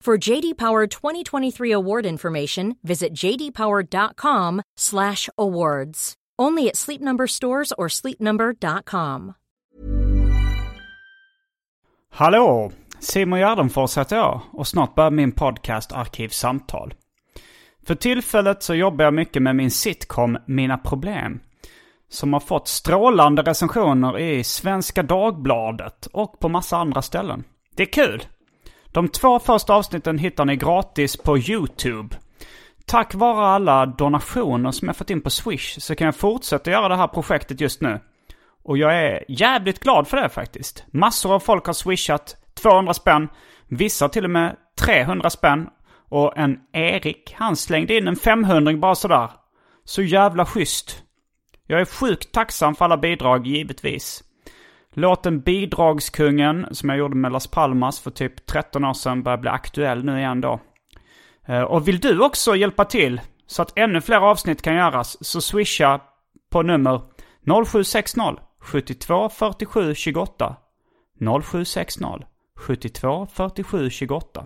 For JD Power 2023 award information, visit jdpower.com/awards. Only at Sleep Number stores or sleepnumber.com. Hallå! Simon Gärdenfors heter jag och snart börjar min podcast Arkivsamtal. För tillfället så jobbar jag mycket med min sitcom Mina Problem. Som har fått strålande recensioner i Svenska Dagbladet och på massa andra ställen. Det är kul! De två första avsnitten hittar ni gratis på YouTube. Tack vare alla donationer som jag fått in på Swish så kan jag fortsätta göra det här projektet just nu. Och jag är jävligt glad för det faktiskt. Massor av folk har swishat 200 spänn, vissa till och med 300 spänn. Och en Erik, han slängde in en 500 bara sådär. Så jävla schysst. Jag är sjukt tacksam för alla bidrag, givetvis. Låten Bidragskungen, som jag gjorde med Las Palmas för typ 13 år sedan, börjar bli aktuell nu igen då. Eh, Och vill du också hjälpa till så att ännu fler avsnitt kan göras så swisha på nummer 0760 72 47 28 0760 72 47 28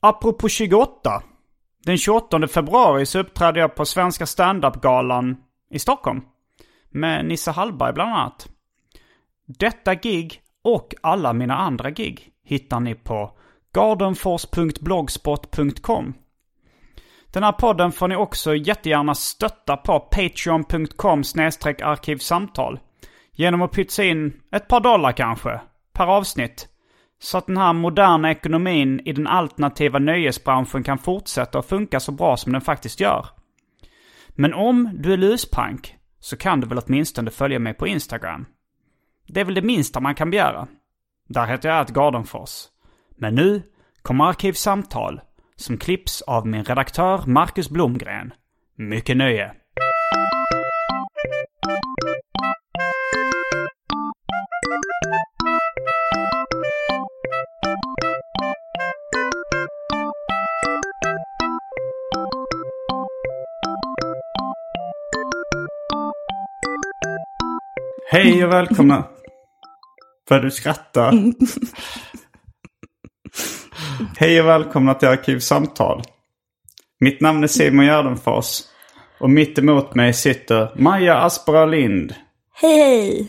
Apropå 28. Den 28 februari så uppträdde jag på Svenska standup-galan i Stockholm med Nisse Hallberg bland annat. Detta gig och alla mina andra gig hittar ni på gardenfors.blogspot.com. Den här podden får ni också jättegärna stötta på patreon.com arkivsamtal. Genom att pytsa in ett par dollar kanske, per avsnitt. Så att den här moderna ekonomin i den alternativa nöjesbranschen kan fortsätta att funka så bra som den faktiskt gör. Men om du är luspank så kan du väl åtminstone följa mig på Instagram? Det är väl det minsta man kan begära. Där heter jag att Gardenfors. Men nu kommer Arkivsamtal som klipps av min redaktör Marcus Blomgren. Mycket nöje! Hej och välkomna! För du skrattar. Hej och välkomna till Arkivsamtal. Mitt namn är Simon Gärdenfors. Och mitt emot mig sitter Maja Aspera Lind. Hej hej!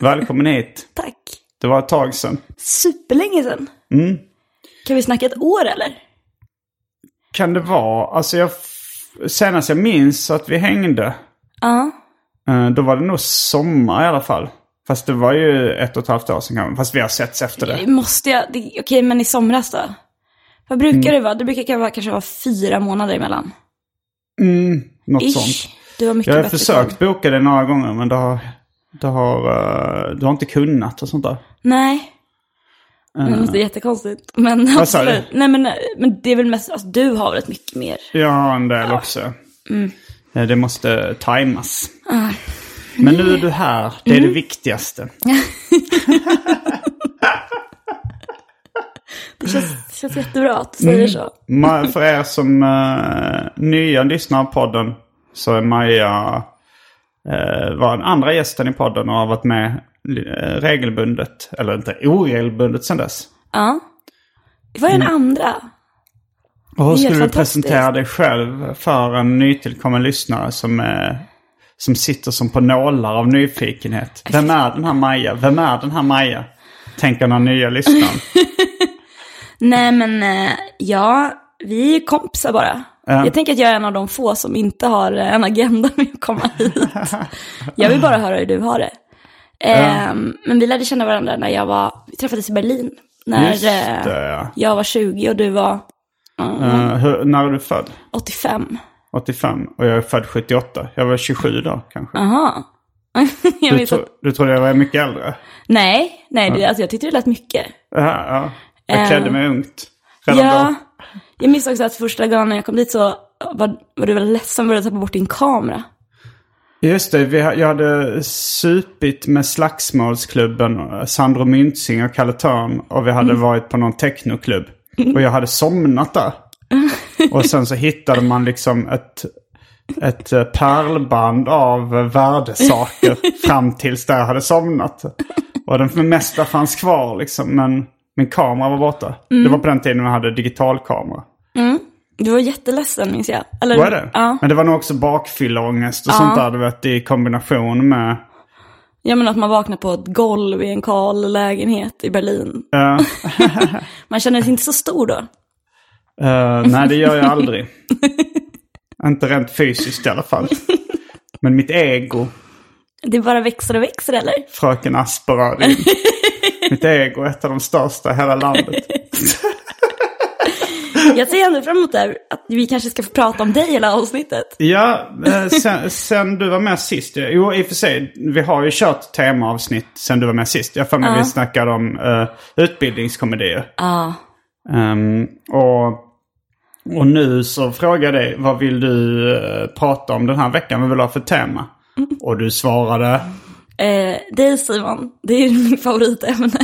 Välkommen hit. Tack! Det var ett tag sedan. Superlänge sedan. Mm. Kan vi snacka ett år eller? Kan det vara, alltså jag, f- senast jag minns att vi hängde, Ja. eh, då var det nog sommar i alla fall. Fast det var ju ett och ett halvt år sedan kanske. Fast vi har setts efter det. Måste jag? det- Okej, men i somras då? Vad brukar Mm. det vara? Det brukar vara- kanske vara fyra månader emellan. Något Ish. sånt. Du har mycket Jag har bättre försökt koll. boka det några gånger men det har, det har, eh, du har inte kunnat och sånt där. Nej. Men det är jättekonstigt. Men Eh. Vad sa du? absolut. Nej, men, men det är väl mest, alltså, du har väl ett mycket mer. Jag har en del också. Eh, Det måste tajmas. Men nu är du här. Det är det viktigaste. Det känns, det känns jättebra att du säger Mm. så. Ma- för er som eh, nya lyssnar på podden så är Maja eh, var den andra gästen i podden och har varit med eh, regelbundet. Eller inte oregelbundet sedan dess. Ja. Det var den Mm. andra. Och hur Det är skulle du fantastiskt. presentera dig själv för en nytillkommen lyssnare som, eh, som sitter som på nålar av nyfikenhet? Vem är den här Maja? Vem är den här Maja? Tänker den nya lyssnaren. Nej men eh, ja, vi är kompisar bara. Ja. Jag tänker att jag är en av de få som inte har eh, en agenda med att komma hit. jag vill bara höra hur du har det. Ehm, Men vi lärde känna varandra när jag var, vi träffades i Berlin. När Just det, eh, ja. jag var 20 och du var Mm. Eh, hur, när är du född? 85. 85 och jag är född 78. Jag var 27 då kanske. Aha. jag Du, minns tro, att, du trodde jag var mycket äldre? nej, nej, det, alltså jag tyckte det lät mycket. Ja, ja. Jag Eh, klädde mig ungt. Redan ja, då. jag minns också att första gången när jag kom dit så var, var du väldigt ledsen för att du tappat bort din kamera. Just det, vi, ha- jag hade supit med Slagsmålsklubben, eh, Sandro Myntzing och Kalle Törn. Och vi hade varit på någon technoklubb. Och jag hade somnat där. Och sen så hittade man liksom ett, ett eh, pärlband av eh, värdesaker fram tills där jag hade somnat. Och den mesta fanns kvar liksom, men min kamera var borta. Det var på den tiden jag hade digitalkamera. Du var jätteledsen minns jag. Eller, Var det? Mm, Ja. Men det var nog också bakfylleångest och sånt där du vet, i kombination med... Jag menar att man vaknar på ett golv i en kal lägenhet i Berlin. Ja. Man känner sig inte så stor då. Eh, nej, det gör jag aldrig. Inte rent fysiskt i alla fall. Men mitt ego, Det bara växer och växer eller? fröken Asperöd. mitt ego är ett av de största i hela landet. Jag ser ändå fram emot det här, att vi kanske ska få prata om dig hela avsnittet. Ja, eh, sen, sen du var med sist. Jo, i och för sig. Vi har ju kört temaavsnitt sen du var med sist. Jag får mig vi snackade om eh, utbildningskomedier. Ja. Ehm, och, och nu så frågar jag dig, vad vill du eh, prata om den här veckan? Vad vill du ha för tema? Och du svarade. Eh, dig Simon, det är min favoritämne.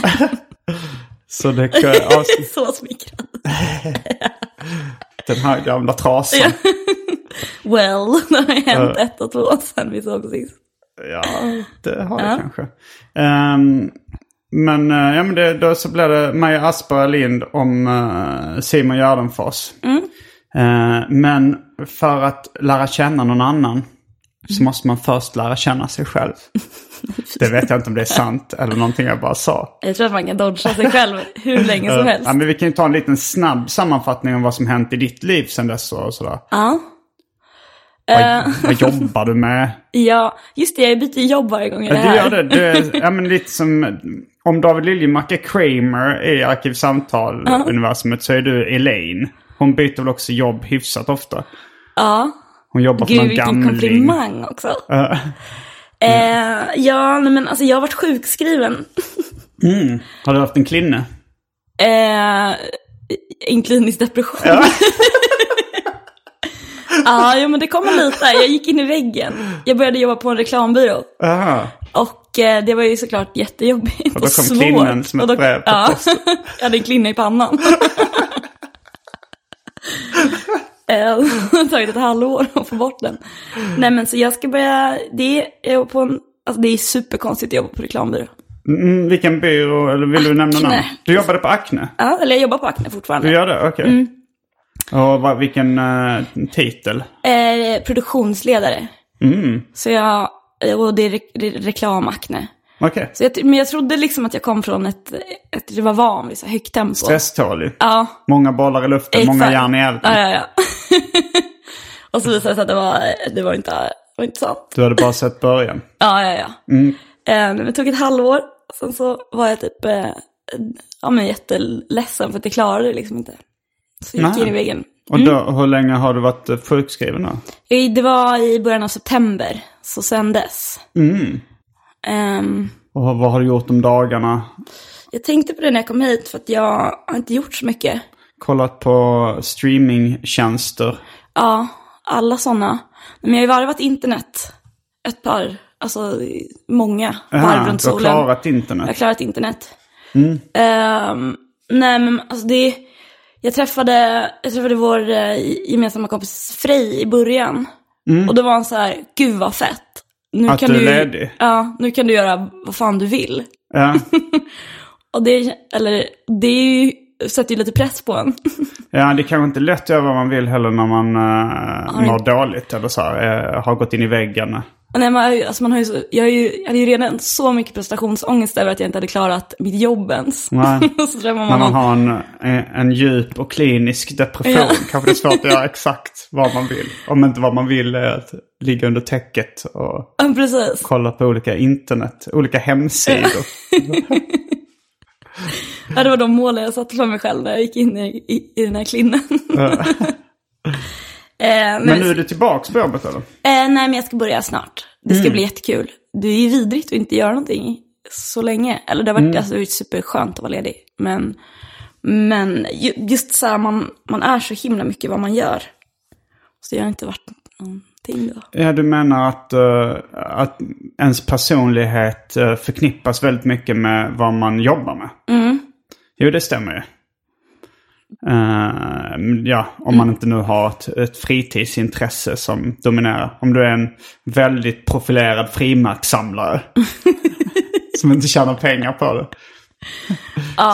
Så det kan jag avsluta så smickrad. den här gamla trasan. Well, det har hänt ett och två sen vi såg sist. Ja, det har det kanske. Ehm, men, eh, ja, men det, då så blev det Maja Asperger Lind om eh, Simon Gärdenfors. Eh, men för att lära känna någon annan så måste man först lära känna sig själv. Det vet jag inte om det är sant eller någonting jag bara sa. Jag tror att man kan dodga sig själv hur länge som helst. Ja, men vi kan ju ta en liten snabb sammanfattning om vad som hänt i ditt liv sedan dess och sådär. Ja. Vad, vad jobbar du med? ja, just det, jag byter jobb varje gång jag är Ja, Du här. gör det. Du är, ja, men lite som om David Liljemark är Kramer i Arkivsamtal-universumet så är du Elaine. Hon byter väl också jobb hyfsat ofta. Ja. Hon jobbar för Gud, någon vilken gamling. komplimang också. Eh, ja, nej, men alltså jag har varit sjukskriven. Har du haft en klinne? Eh, en klinisk depression. Ja. ja, men det kommer lite. Jag gick in i väggen. Jag började jobba på en reklambyrå. Aha. Och eh, det var ju såklart jättejobbigt då och, kom svårt. klinnen som ett Och då- brev på ja, Jag hade en klinna i pannan. Eh, Det har tagit ett halvår att få bort den. Nej men så jag ska börja, det är, på en, alltså, det är superkonstigt att jobba på reklambyrå. Mm, vilken byrå, eller vill du nämna namn? Du jobbade på Acne? Ja, eller jag jobbar på Acne Du fortfarande. gör det? Okej. Mm. Och vad, vilken eh, titel? Eh, produktionsledare. Mm. Så jag, eh, och det är, re, det är reklamakne. Okej. Så jag, men jag trodde liksom att jag kom från ett, ett det var van vid så här högt tempo. Stresstålig. Ja, Många bollar i luften, Exakt. många järn i elden. Ja, ja, ja. och så visade det sig att det var, det var inte, det var inte sant. Du hade bara sett början. Ja, ja, ja. Mm. Eh, men det tog ett halvår. Sen så var jag typ eh, ja, men jätteledsen för att det klarade det liksom inte. Så jag gick Nej. in i väggen. Och då, Mm. hur länge har du varit eh, sjukskriven då? I- Det var i början av september, så sen dess. Mm. Ehm, Och vad har du gjort om dagarna? jag tänkte på det när jag kom hit för att jag har inte gjort så mycket. Kollat på streamingtjänster. Ja, alla sådana. Men jag har ju varvat internet ett par, alltså många varv runt du har solen. klarat Mm. Jag har internet. klarat internet. Ehm, nej men alltså det, jag träffade, jag träffade vår eh, gemensamma kompis Frej i början. Och då var han så här, gud vad fett. Nu Mm. Att du är du, ledig. Ja, nu kan du göra vad fan du vill. Ja, Och det, eller, det är ju, sätter ju lite press på en. ja, det är kanske inte lätt att göra vad man vill heller när man eh, mår dåligt eller så här, eh, har gått in i väggen. Nej, man, alltså man har ju så, jag, har ju, jag hade ju redan så mycket prestationsångest över att jag inte hade klarat mitt jobb ens. Nej. Och så drömmer När man man om... har en, en, en djup och klinisk depression Ja. kanske det är svårt att göra exakt vad man vill. Om inte vad man vill är att ligga under täcket och Ja, precis. kolla på olika internet, olika hemsidor. Ja, det var de målen jag satte för mig själv när jag gick in i, i, i den här klinnen. eh, men, Men nu är du tillbaka på jobbet eller? eh, nej, men jag ska börja snart. Det Mm. ska bli jättekul. Det är ju vidrigt att inte göra någonting så länge. Eller det har varit, Mm. alltså, det har varit superskönt att vara ledig. Men, men ju- just så här, man, man är så himla mycket vad man gör. Så jag har inte varit någonting då. Ja, du menar att, eh, att ens personlighet eh, förknippas väldigt mycket med vad man jobbar med? Mm. Jo, det stämmer ju. Eh, ja, om Mm. man inte nu har ett, ett fritidsintresse som dominerar. Om du är en väldigt profilerad frimärkssamlare som inte tjänar pengar på det.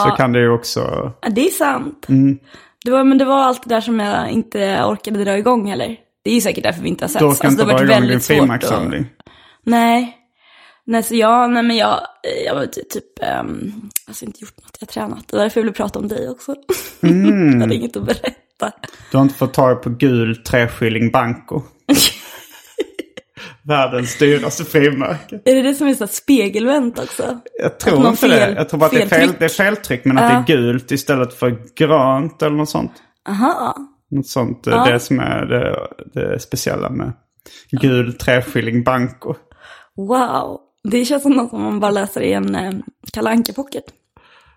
Så kan det ju också... Ja, det är sant. Mm. Det var, men det var allt det där som jag inte orkade dra igång heller. Det är ju säkert därför vi inte har setts. Du orkar inte Alltså, det har dra varit igång din väldigt svårt att- frimärkssamling. Nej. Nej, så jag, nej men jag, eh, jag har typ, ehm, alltså inte gjort något, jag har tränat. Det var därför jag ville prata om dig också. Mm. jag hade inget att berätta. Du har inte fått tag på gul treskilling banco. Världens dyraste frimärke. Är det det som är så här spegelvänt också? Jag Att tror man inte det. fel- Jag tror bara att det är, fel, feltryck. det är feltryck men att det är gult istället för grönt eller något sånt. Aha. Något sånt. Det är det som är det, det speciella med gul treskilling banco. Wow. Det känns som något som man bara läser i en eh, Kalle Anka pocket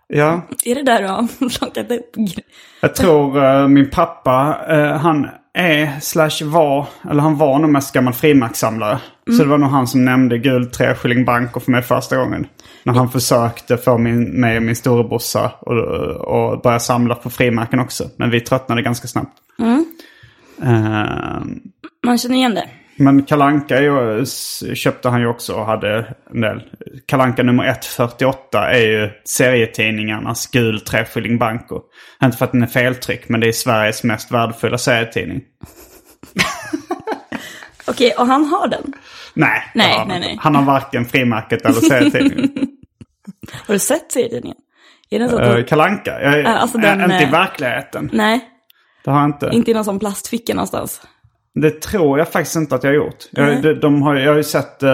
Ja, Är det där du har plockat upp? gre- Jag tror eh, min pappa, eh, han är slash var, eller han var nog mest gammal frimärkssamlare. Så det var nog han som nämnde gul treskilling banco för mig första gången. När han försökte få min, mig och min storebrorsa och, och börja samla på frimärken också. Men vi tröttnade ganska snabbt. Eh, Man känner igen det. men Kalanka köpte han ju också och hade en del. Kalanka nummer 148 är ju serietidningarnas gul treskilling banco. Inte för att den är feltryck, men det är Sveriges mest värdefulla serietidning. Okej, och han har den. Nej, det Nej, har han, nej, inte. nej. han har varken frimärket eller serietidningen. Har du sett serietidningen? Är den så att uh, du... Kalanka, jag, Ja, alltså den, äh, inte i eh, verkligheten. Nej, Det har jag inte. inte i någon sån plastficka någonstans. Det tror jag faktiskt inte att jag har gjort. Jag, de, de har, jag har ju sett eh,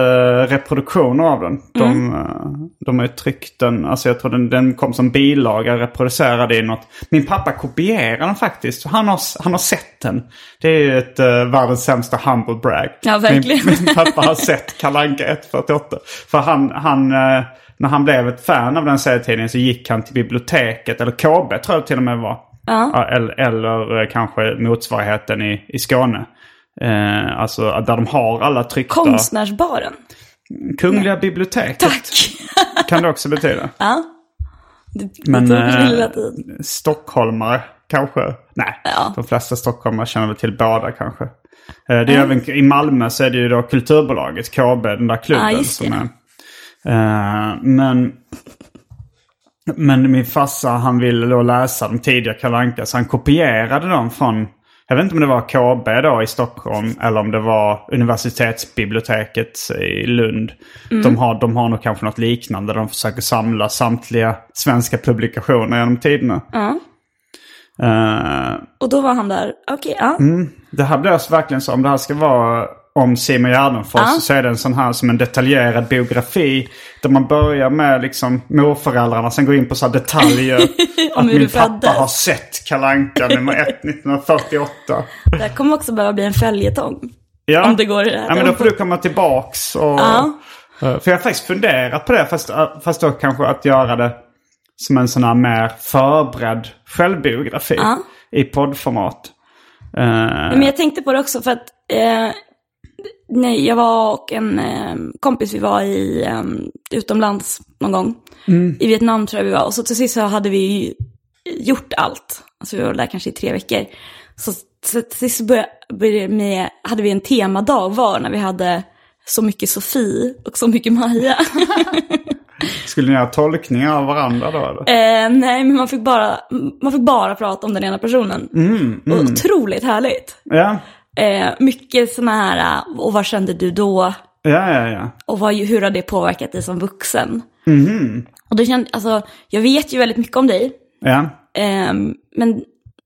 reproduktioner av den. De, Mm. eh, de har ju tryckt den, alltså jag tror den, den kom som bilaga, reproducerad i något. Min pappa kopierar den faktiskt. Han har, han har sett den. Det är ju ett eh, världens sämsta humble brag. Ja, verkligen. Min, min pappa har sett Kalle Anka 148. För han, han, eh, när han blev ett fan av den serietidningen så gick han till biblioteket, eller KB tror jag till och med var. Ja, Eller, eller eh, kanske motsvarigheten i, i Skåne. Eh, alltså där de har alla tryckta... Konstnärsbaren. Kungliga biblioteket Tack! kan det också betyda. Det Men, tog eh, sin lilla tid. Stockholmare kanske. Nej, de flesta stockholmare känner väl till båda kanske. Eh, det är även, I Malmö så är det ju då Kulturbolaget, KB, den där klubben. Ja, just som är, eh, men, men min farsa han ville då läsa de tidiga Kalle Anka så han kopierade dem från jag vet inte om det var KB då i Stockholm eller om det var universitetsbiblioteket i Lund. Mm. De, har, de har nog kanske något liknande. De försöker samla samtliga svenska publikationer genom tiderna. Eh, Och då var han där, okej, ja. det här blir alltså verkligen så, om det här ska vara om Simon Gärdenfors så är det en sån här som en detaljerad biografi. Där man börjar med liksom morföräldrarna, sen går in på så här detaljer. att hur min du pappa föddes. har sett Kalle Anka nummer 1 1948. Det här kommer också behöva bli en följetong. Ja. Om det går i det här Ja men då får du tempot. komma tillbaks och... Ja. Eh, För jag har faktiskt funderat på det, fast, äh, fast då kanske att göra det som en sån här mer förberedd självbiografi i poddformat. Eh, Men jag tänkte på det också för att eh, nej, jag var och en eh, kompis, vi var i eh, utomlands någon gång. I Vietnam tror jag vi var. Och så till sist så hade vi ju gjort allt. Alltså vi var där kanske i tre veckor. Så, så till sist så började, började med, hade vi en temadag var när vi hade så mycket Sofie och så mycket Maja. Skulle ni göra tolkningar av varandra då eller? Eh, nej, men man fick, bara, man fick bara prata om den ena personen. Och otroligt härligt. Ja. Eh, mycket sådana här, och vad kände du då? Ja, ja, ja. Och vad, hur har det påverkat dig som vuxen? Mm-hmm. Och då kände, alltså, jag vet ju väldigt mycket om dig. Ja, ehm, men,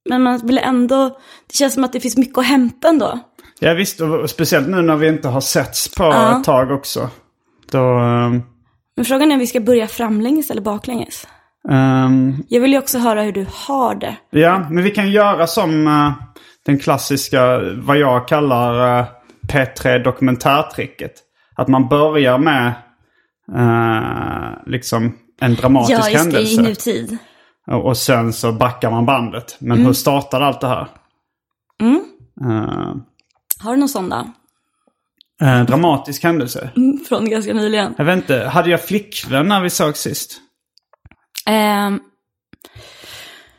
men man vill ändå, det känns som att det finns mycket att hämta ändå. ja visst. Och speciellt nu när vi inte har setts på Ja. ett tag också. Då... ehm, Men frågan är om vi ska börja framlänges eller baklänges. ehm, Jag vill ju också höra hur du har det. Ja, men vi kan göra som eh, den klassiska, vad jag kallar eh, P3 dokumentärtricket. Att man börjar med eh, liksom en dramatisk Ja, just det, i händelse. nutid. Och och sen så backar man bandet. Men hur startade allt det här? Mm. Eh, Har du någon sån då? eh, dramatisk händelse. Mm, Från ganska nyligen. Jag vet inte, hade jag flickvän när vi såg sist? Ehm,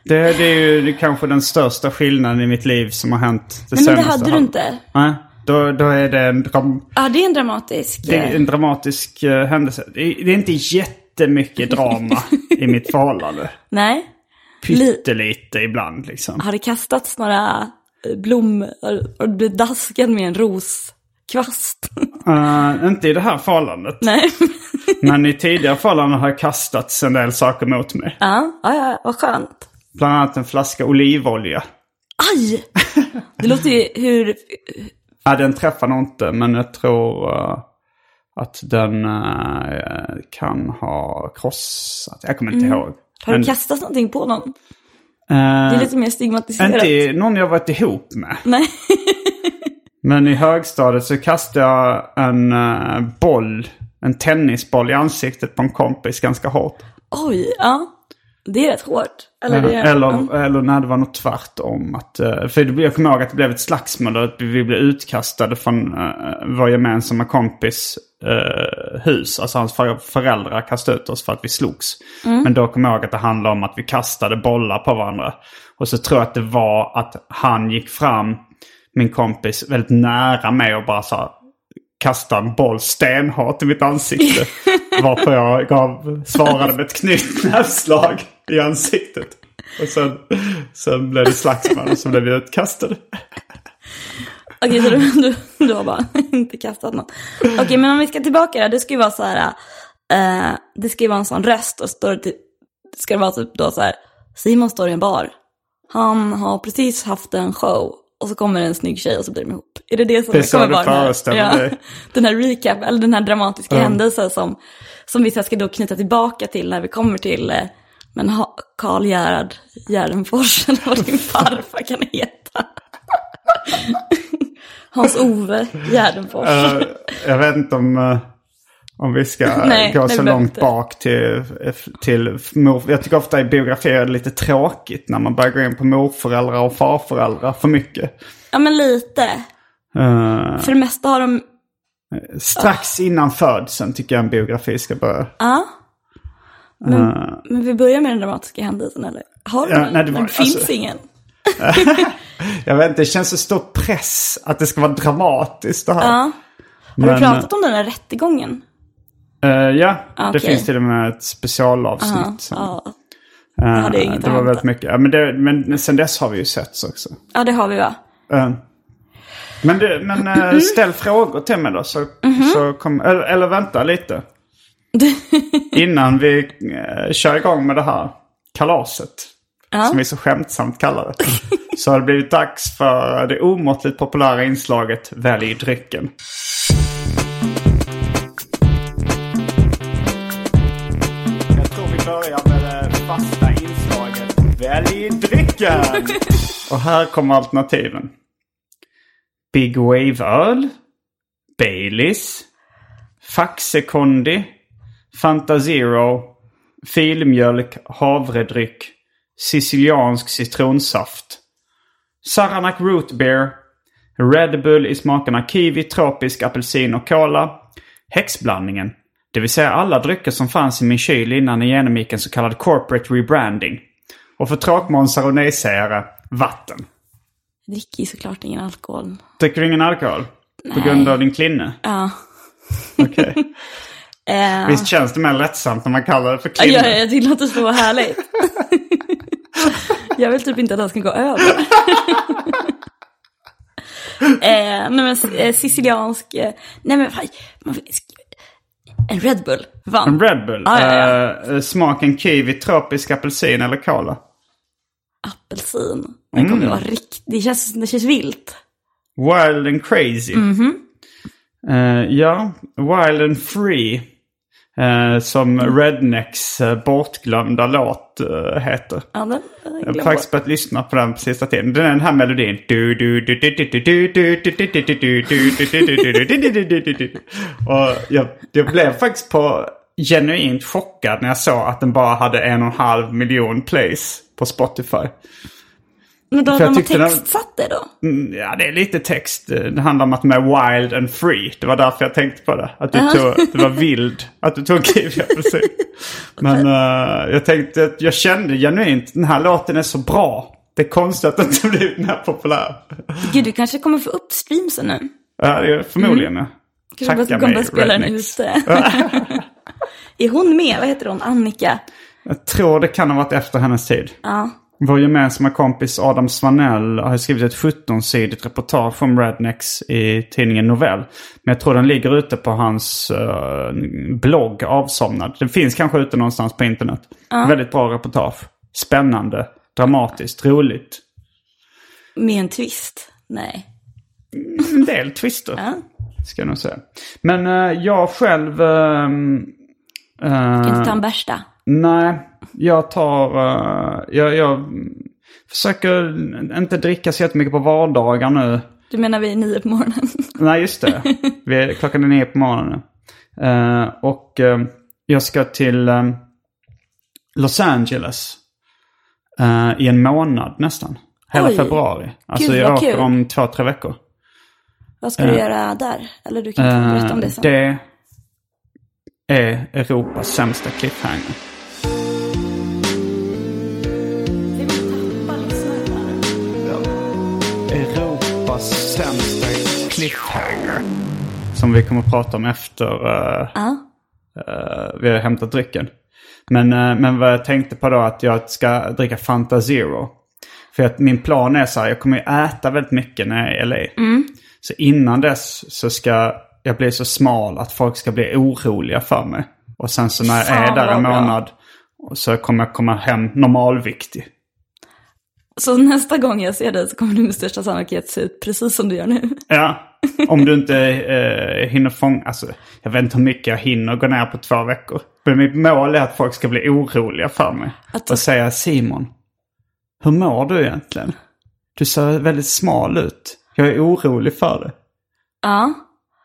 Det, det är ju kanske den största skillnaden i mitt liv som har hänt det nej, men det senaste hade du halv- inte. Nej, då, då är det en dram- Ja, det är en dramatisk... Det är eh, en dramatisk eh, händelse. Det är, det är inte jättemycket drama i mitt förhållande. Nej. Pyttelite ibland liksom. Har det kastats några eh, blommor? Har du blivit daskad med en roskvast? Eh, inte i det här förhållandet. Nej. Men i tidigare förhållanden har jag kastats en del saker mot mig. Ja, ja, ja, vad skönt. Bland annat en flaska olivolja. Aj! Det låter ju hur... Ja, den träffar nog inte, men jag tror eh, att den eh, kan ha krossat. Jag kommer inte ihåg. Mm. Har Men, du kastat någonting på någon? Det är eh, lite mer stigmatiserat. inte någon jag varit ihop med. Nej. Men i högstadiet så kastade jag en eh, boll, en tennisboll i ansiktet på en kompis ganska hårt. Oj, ja. Det är rätt hårt. Eller, det, ja. Eller, eller när det var något tvärtom. Att, eh, för det, jag kommer ihåg att det blev ett slagsmål och att vi blev utkastade från uh, vår gemensamma kompis eh, hus. Alltså hans för- föräldrar kastade ut oss för att vi slogs. Mm. Men då kommer jag ihåg att det handlade om att vi kastade bollar på varandra. Och så tror jag att det var att han gick fram, min kompis, väldigt nära mig och bara sa kastade en boll stenhårt i mitt ansikte. Varpå jag gav, svarade med ett knytnävsslag i ansiktet. Och sen, sen blev det slagsmål och så blev vi utkastade. Okej, så du, du, du har bara inte kastat något. Okej, men om vi ska tillbaka då, det ska ju vara så här, eh, det ska ju vara en sån röst och står det typ, ska det vara typ då så här, Simon står i en bar, han har precis haft en show och så kommer en snygg tjej och så blir de ihop. Är det det som Det är så kommer du vara den här- föreställer dig. Den här recap, eller den här dramatiska händelsen som, som vi sen ska då knyta tillbaka till när vi kommer till, eh, men ha- Karl Gerhard Gärdenfors, eller vad din farfar kan heta. Hans-Ove Gärdenfors. Eh, jag vet inte om, eh, om vi ska Nej, gå det så behöver långt inte. bak till, eh, till mor, Jag tycker ofta i biografier är det lite tråkigt när man börjar gå in på morföräldrar och farföräldrar för mycket. Ja, men lite. Eh, För det mesta har de, strax innan födseln tycker jag en biografi ska börja. ja. Men, men vi börjar med den dramatiska händelsen, eller? Har du Ja, den? nej, det var- den finns alltså- ingen. Jag vet inte, det känns så stor press att det ska vara dramatiskt det här. Ja. Har Men, du pratat om den här rättegången? eh, ja, det Okej. finns till och med ett specialavsnitt. som, Ja. eh, hade inget det att var väldigt hämta. mycket. Ja, men, det, men sen dess har vi ju setts också. ja, det har vi va? Eh, men du, men eh, ställ frågor till mig då. Så, så kom, eller, eller vänta lite. Innan vi eh, kör igång med det här kalaset. Som vi så skämtsamt kallar det. Så har det blivit dags för det omåttligt populära inslaget Välj drycken. Jag tror vi börjar med det fasta inslaget Välj drycken! Och här kommer alternativen. Big Wave-öl. Baileys. Faxekondi. Fanta Zero. Filmjölk. Havredryck. Siciliansk citronsaft. Saranac Root Beer. Red Bull i smakerna kiwi, tropisk, apelsin och cola. Häxblandningen. Det vill säga alla drycker som fanns i min kyl innan den genomgick en så kallad corporate rebranding. Och för tråkmånsar och nejsägare, vatten. Jag dricker ju såklart ingen alkohol. Eh, Dricker du ingen alkohol? På grund av din klinne? Ja. Okej. Eh, Visst känns det mer lättsamt när man kallar det för ja, klinne? ja, jag tycker det låter så härligt. jag vill typ inte att han ska gå över. Eh, nej men eh, siciliansk, eh, nej men fan, man, en Red Bull vann. En Red Bull. Ja, ja, ja. Eh, smaken kiwi, tropisk apelsin eller cola. Apelsin. Den Mm. kommer vara riktigt, det känns, det känns vilt. Wild and crazy. Mhm. Eh, ja, Wild and free. eh, som Mm. Rednecks eh, bortglömda låt eh, heter. Ja, den, den Jag har glömmer. faktiskt börjat lyssna på den på sista tiden. Den är den här melodin. Du, du, du, du, du, du, du, du, du, du, du, du, du, du, du, du, du, du, du, du, du, du, du. Och jag, jag blev faktiskt på genuint chockad när jag såg att den bara hade en och en halv miljon plays på Spotify. Men då för jag hade man tyckte den- textsatt det då? Mm, Ja, det är lite text. Det handlar om att de är wild and free. Det var därför jag tänkte på det. Att du, tog, att du var vild. Att du tog kiwi precis. Men eh, jag tänkte att jag kände genuint den här låten är så bra. Det är konstigt att den inte blivit mer populär. Gud, du kanske kommer få upp streamsen nu. Ja, det är förmodligen. ja. Kanske bara Tacka mig, kommer börja spela den Rednecks. ute. är hon med? Vad heter hon? Annika? Jag tror det kan ha varit efter hennes tid. Ja. Vår gemensamma kompis Adam Svanell har skrivit ett 17-sidigt reportage om Rednecks i tidningen Novell. Men jag tror den ligger ute på hans eh, blogg Avsomnad. Den finns kanske ute någonstans på internet. Väldigt bra reportage. Spännande, dramatiskt, roligt. Med en twist? Nej. En del twister. Ska jag nog säga. Men eh, jag själv... eh, eh, Inte ta en bärsta. Nej, jag tar... eh, jag, jag mm, försöker inte dricka så jättemycket på vardagar nu. Du menar vi är nio på morgonen? Nej, just det. Vi är, klockan är nio på morgonen nu. Eh, och eh, jag ska till eh, Los Angeles eh, i en månad nästan. Hela Oj. februari. Alltså Gud, jag vad åker kul. om två, tre veckor. Vad ska du göra där? Eller du kan inte Eh, berätta om det sen. Ah. det är Europas sämsta cliffhanger. Europas sämsta cliffhanger. Som vi kommer att prata om efter eh, Ja. eh, vi har hämtat drycken. Men, eh, men vad jag tänkte på då att jag ska dricka Fanta Zero. För att min plan är så här, jag kommer ju äta väldigt mycket när jag är i LA. Mm. Så innan dess så ska jag bli så smal att folk ska bli oroliga för mig. Och sen så när jag är Fan, där en vad bra. månad så kommer jag komma hem normalviktig. Så nästa gång jag ser dig så kommer du med största sannolikhet se ut precis som du gör nu. Ja, om du inte eh, hinner fånga... Alltså, jag vet inte hur mycket jag hinner gå ner på två veckor. Men mitt mål är att folk ska bli oroliga för mig. Att- Och säga Simon, hur mår du egentligen? Du ser väldigt smal ut. Jag är orolig för dig. Ja.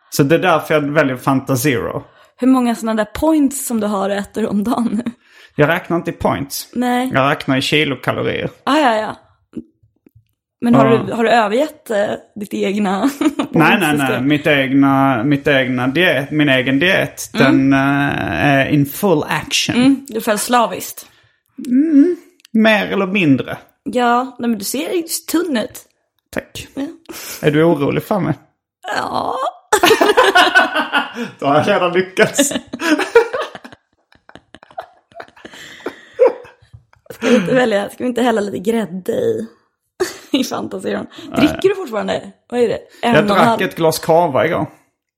Så det är därför jag väljer Fanta Zero. Hur många sådana där points som du har och äter om dagen nu? Jag räknar inte i points. Nej. Jag räknar i kilokalorier. Ah, ja, ja. Men har, Ja. du, har du övergett eh, ditt egna? Nej, nej, nej. system? Mitt egna, mitt egna diet, min egen diet, den eh, är in full action. Mm, Du föll slaviskt. Mer eller mindre. Ja, nej, men du ser ju tunn ut. Tack. Ja. Är du orolig för mig? Ja. Då har jag redan lyckats. Ska vi inte välja, ska vi inte hälla lite grädde i? I fantasin. Dricker du fortfarande? Vad är det? En Jag och en halv- drack ett glas cava igår.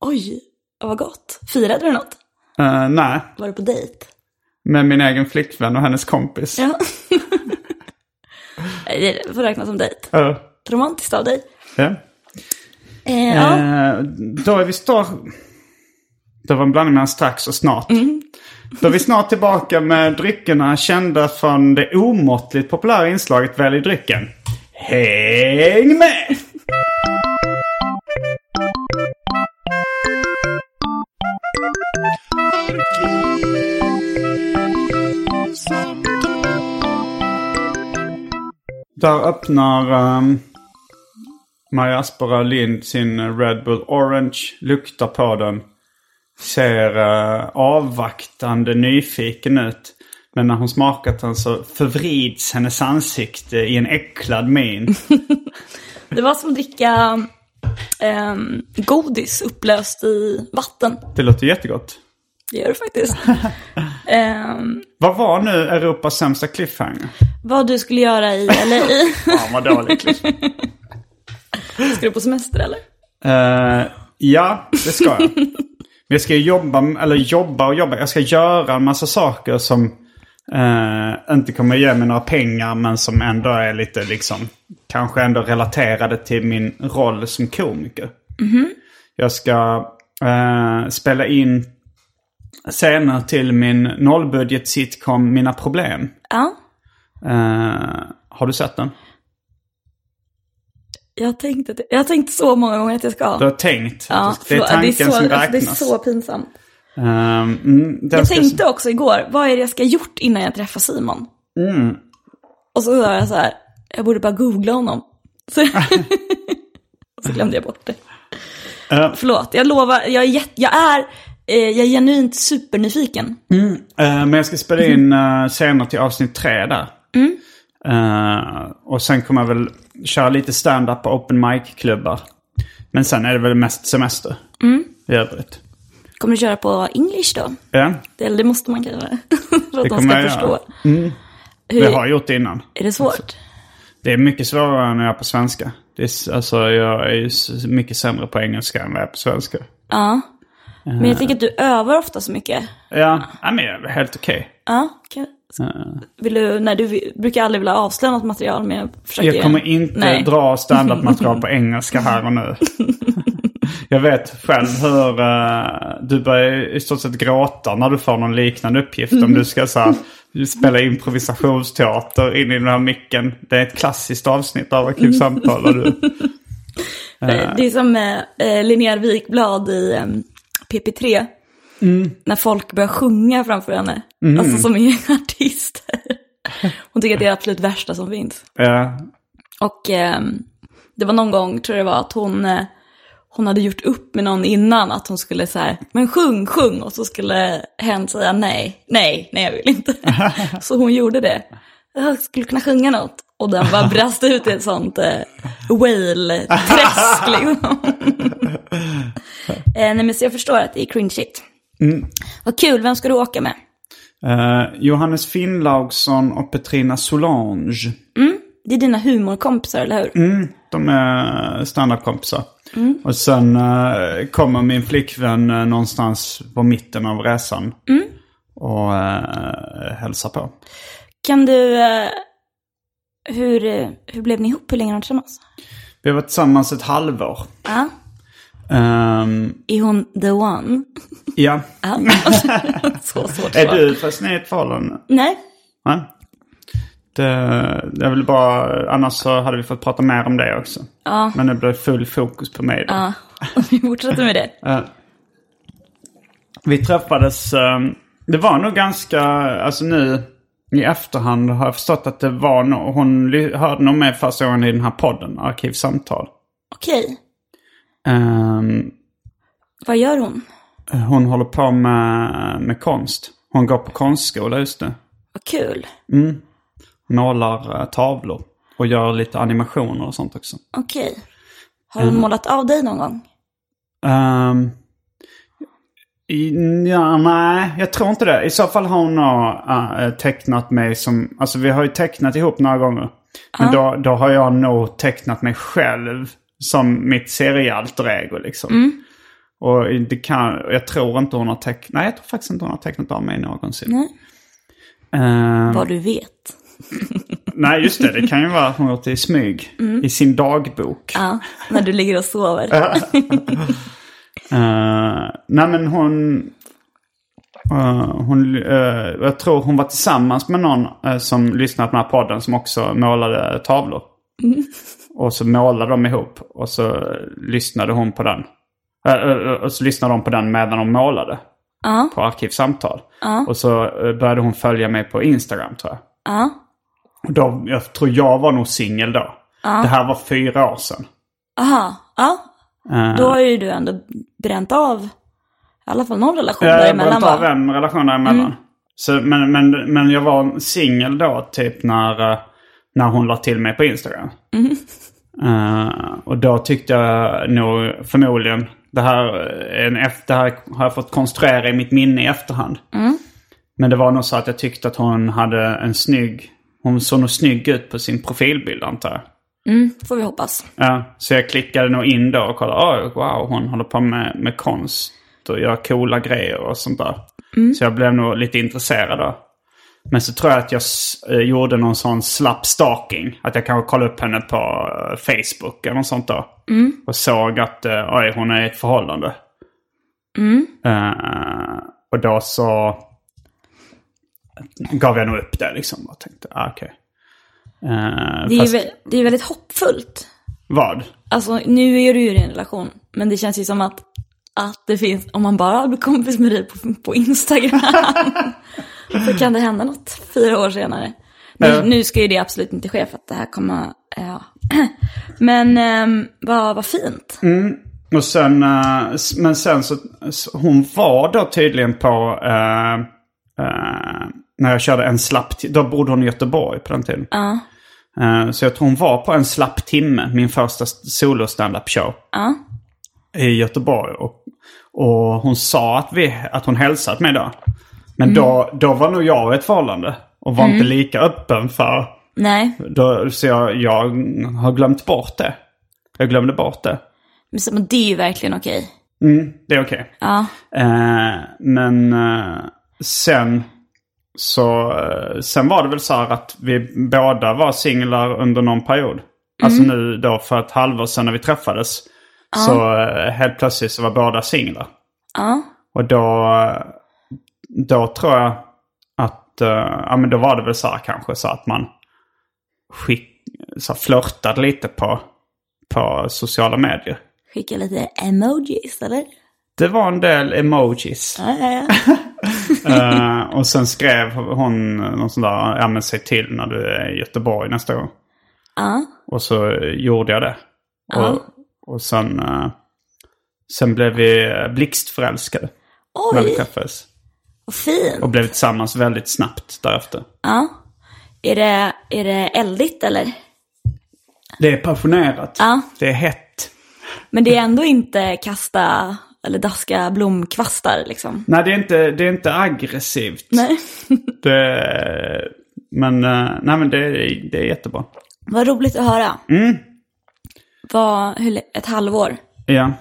Oj, vad gott. Firade du något? Eh, nej, Var du på dejt? med min egen flickvän och hennes kompis. Ja. Det får räknas som dejt. Eh, Romantiskt av dig. ja. Eh, ja. Eh, då är vi snart... Det var en blandning mellan strax och snart. Då är vi snart tillbaka med dryckerna kända från det omåttligt populära inslaget Välj drycken. Häng med! Där öppnar um, Maja Aspera Lind sin eh, Red Bull Orange, luktar på den. Ser eh, avvaktande nyfiken ut. Men när hon smakat den så förvrids hennes ansikte i en äcklad min. Det var som att dricka ehm, godis upplöst i vatten. Det låter jättegott. Det gör det faktiskt. Ehm, Vad var nu Europas sämsta cliffhanger? vad du skulle göra i LA. Fan vad dålig cliffhanger. Ska du på semester eller? Eh, ja, det ska jag. Men jag ska ju jobba, eller jobba och jobba. Jag ska göra en massa saker som eh, inte kommer ge mig några pengar men som ändå är lite liksom kanske ändå relaterade till min roll som komiker. Mhm. Jag ska eh, spela in scener till min nollbudget sitcom Mina Problem. Ja, Eh, har du sett den? jag har tänkt, att, jag har tänkt så många gånger att jag ska. Du har tänkt? ja, det är förlåt. tanken så, som räknas. alltså, det är så pinsamt. Ehm, mm, den Jag ska- tänkte också igår, vad är det jag ska ha gjort innan jag träffar Simon? Mm. Och så sa jag så här, jag borde bara googla honom. Så, och så glömde jag bort det. Ja. Förlåt, jag lovar, jag är, jätte- jag är, eh, jag är genuint supernyfiken. Eh, men jag ska spela in eh, scener till avsnitt tre där. Eh, och sen kommer jag väl köra lite stand-up på open mic-klubbar. Men sen är det väl mest semester i övrigt. Kommer du köra på English då? Ja, Eller det måste man kanske, för att de kommer ska jag förstå. göra. Mm. Hur, det har jag gjort det innan. Är det svårt? Det är mycket svårare än jag är på svenska. Det är, s- alltså, jag är ju s- mycket sämre på engelska än vad jag är på svenska. Ja. Men jag tänker att du övar ofta så mycket. Ja, ja men jag är helt okej. Eh. Ja, kan, vill du, nej, du vill- brukar aldrig vilja avslöja något material, men jag försöker... Jag kommer inte nej. dra standardmaterial på engelska här och nu. Jag vet själv hur eh, du börjar i stort sett gråta när du får någon liknande uppgift. Om du ska så här, spela improvisationsteater in i den här micken. Det är ett klassiskt avsnitt av Arkivsamtal. Och du, Eh, Det är som eh, eh, Linnea Wikblad i em, PP3. När folk börjar sjunga framför henne. Alltså som är artister. Hon tycker att det är det absolut värsta som finns. eh, Och em, det var någon gång, tror jag det var, att hon, eh, hon hade gjort upp med någon innan att hon skulle så här, men sjung, sjung. Och så skulle hen säga nej, nej, nej jag vill inte. så hon gjorde det. Jag skulle kunna sjunga något. Och den bara brast ut i ett sånt eh, whale-träsk liksom. eh, nej men så jag förstår att det är cringeigt. Vad kul, vem ska du åka med? eh, Johannes Finnlaugsson och Petrina Solange. Det är dina humorkompisar, eller hur? De är standardkompisar. Mm. Och sen eh, kommer min flickvän eh, någonstans på mitten av resan. Mm. Och uh, hälsar på. Kan du... Eh, hur, eh, hur blev ni ihop? Hur länge har ni varit tillsammans? Vi har varit tillsammans ett halvår. Ja. Ehm, Är hon the one? ja. Ja. så svårt Är svar. du förresten i ett förhållande? Nej. Nej. Det, jag vill bara, annars så hade vi fått prata mer om det också. Men det blev full fokus på mig då. Ja. Vi fortsätter med det. Vi träffades, eh, det var nog ganska, alltså nu i efterhand har jag förstått att det var nog, hon ly- hörde nog med första gången i den här podden, Arkivsamtal. Okej. Ehm, Vad gör hon? hon håller på med, med konst. Hon går på konstskola just nu. Vad kul. Målar eh, tavlor och gör lite animationer och sånt också. Okej. Har Mm. hon målat av dig någon gång? Um, ja, nej, jag tror inte det. I så fall har hon nog eh, tecknat mig som... Alltså vi har ju tecknat ihop några gånger. Men då, då har jag nog tecknat mig själv som mitt seriealter ego liksom. Mm. Och det kan, jag tror inte hon har tecknat... Nej, jag tror faktiskt inte hon har tecknat av mig någonsin. Nej. Ehm, Vad du vet. nej, just det. Det kan ju vara att hon har gjort det i smyg. I sin dagbok. Mm. Ja, när du ligger och sover. Eh, nej men hon... eh, hon eh, jag tror hon var tillsammans med någon eh, som lyssnade på den här podden som också målade tavlor. Och så målade de ihop och så lyssnade hon på den. Eh, eh, och så lyssnade de på den medan de målade. På arkivsamtal. Och så eh, började hon följa mig på Instagram tror jag. Ja. Och då, jag tror jag var nog singel då. Det här var fyra år sedan. Aha. Ja. Eh, Då har ju du ändå bränt av i alla fall någon relation Ja, jag behöver däremellan inte ha va? Eh, vem relation däremellan. Så, men, men, men jag var singel då typ när, eh, när hon la till mig på Instagram. Eh, och då tyckte jag nog förmodligen, det här, är en, efter- det här har jag fått konstruera i mitt minne i efterhand. Men det var nog så att jag tyckte att hon hade en snygg, hon såg nog snygg ut på sin profilbild antar jag. Mm, får vi hoppas. Ja, så jag klickade nog in då och kollade. Oh, wow, hon håller på med, med konst och gör coola grejer och sånt där. Så jag blev nog lite intresserad då. Men så tror jag att jag s- eh, gjorde någon sån slapp stalking. Att jag kanske kollade upp henne på eh, Facebook eller något sånt då. Och såg att eh, oj, hon är i ett förhållande. Eh, och då så gav jag nog upp det liksom. Och tänkte, ah, okej. Eh, Det är, fast- ju, vä- det är väldigt hoppfullt. Vad? Alltså nu är du ju i en relation, men det känns ju som att, att det finns, om man bara blir kompis med dig på, på Instagram så kan det hända något fyra år senare. Nu, Ja. nu ska ju det absolut inte ske för att det här kommer, ja. Men ehm, vad vad fint. Och sen, eh, s- men sen så, s- hon var då tydligen på, eh, eh, när jag körde en slapp, ti- då bodde hon i Göteborg på den tiden. Eh, så jag tror hon var på en slapp timme, min första s- solo stand-up show. I Göteborg. Och, och hon sa att, vi, att hon hälsat mig då. Men då, då var nog jag i ett förhållande. Och var inte lika öppen för, Nej, då, så jag, jag har glömt bort det. Jag glömde bort det. men så- men det är ju verkligen okej. Mm, det är okej. Ja. Eh, men eh, sen så eh, sen var det väl så här att vi båda var singlar under någon period. Alltså nu då för ett halvår sedan när vi träffades. Så eh, helt plötsligt så var båda singlar. Ja. Och då, eh, då tror jag att, eh, ja men då var det väl så här kanske så att man skick, så här flörtade lite på, på sociala medier. Skicka lite emojis eller? Det var en del emojis. Ja, ja, ja. Eh, och sen skrev hon någon sån där, ja men säg till när du är i Göteborg nästa gång. Ja. Och så eh, gjorde jag det. Ja. Och, och sen, eh, sen blev vi eh, blixtförälskade när vi Oj, träffades. vad fint. Och blev tillsammans väldigt snabbt därefter. Ja. Är det, är det eldigt eller? Det är passionerat. Ja. Det är hett. Men det är ändå inte kasta eller daska blomkvastar liksom. Nej, det är inte, det är inte aggressivt. Nej. Det, men, eh, nej, men det, är- det är jättebra. Vad roligt att höra. Vad, hur, lä- ett halvår. Ja.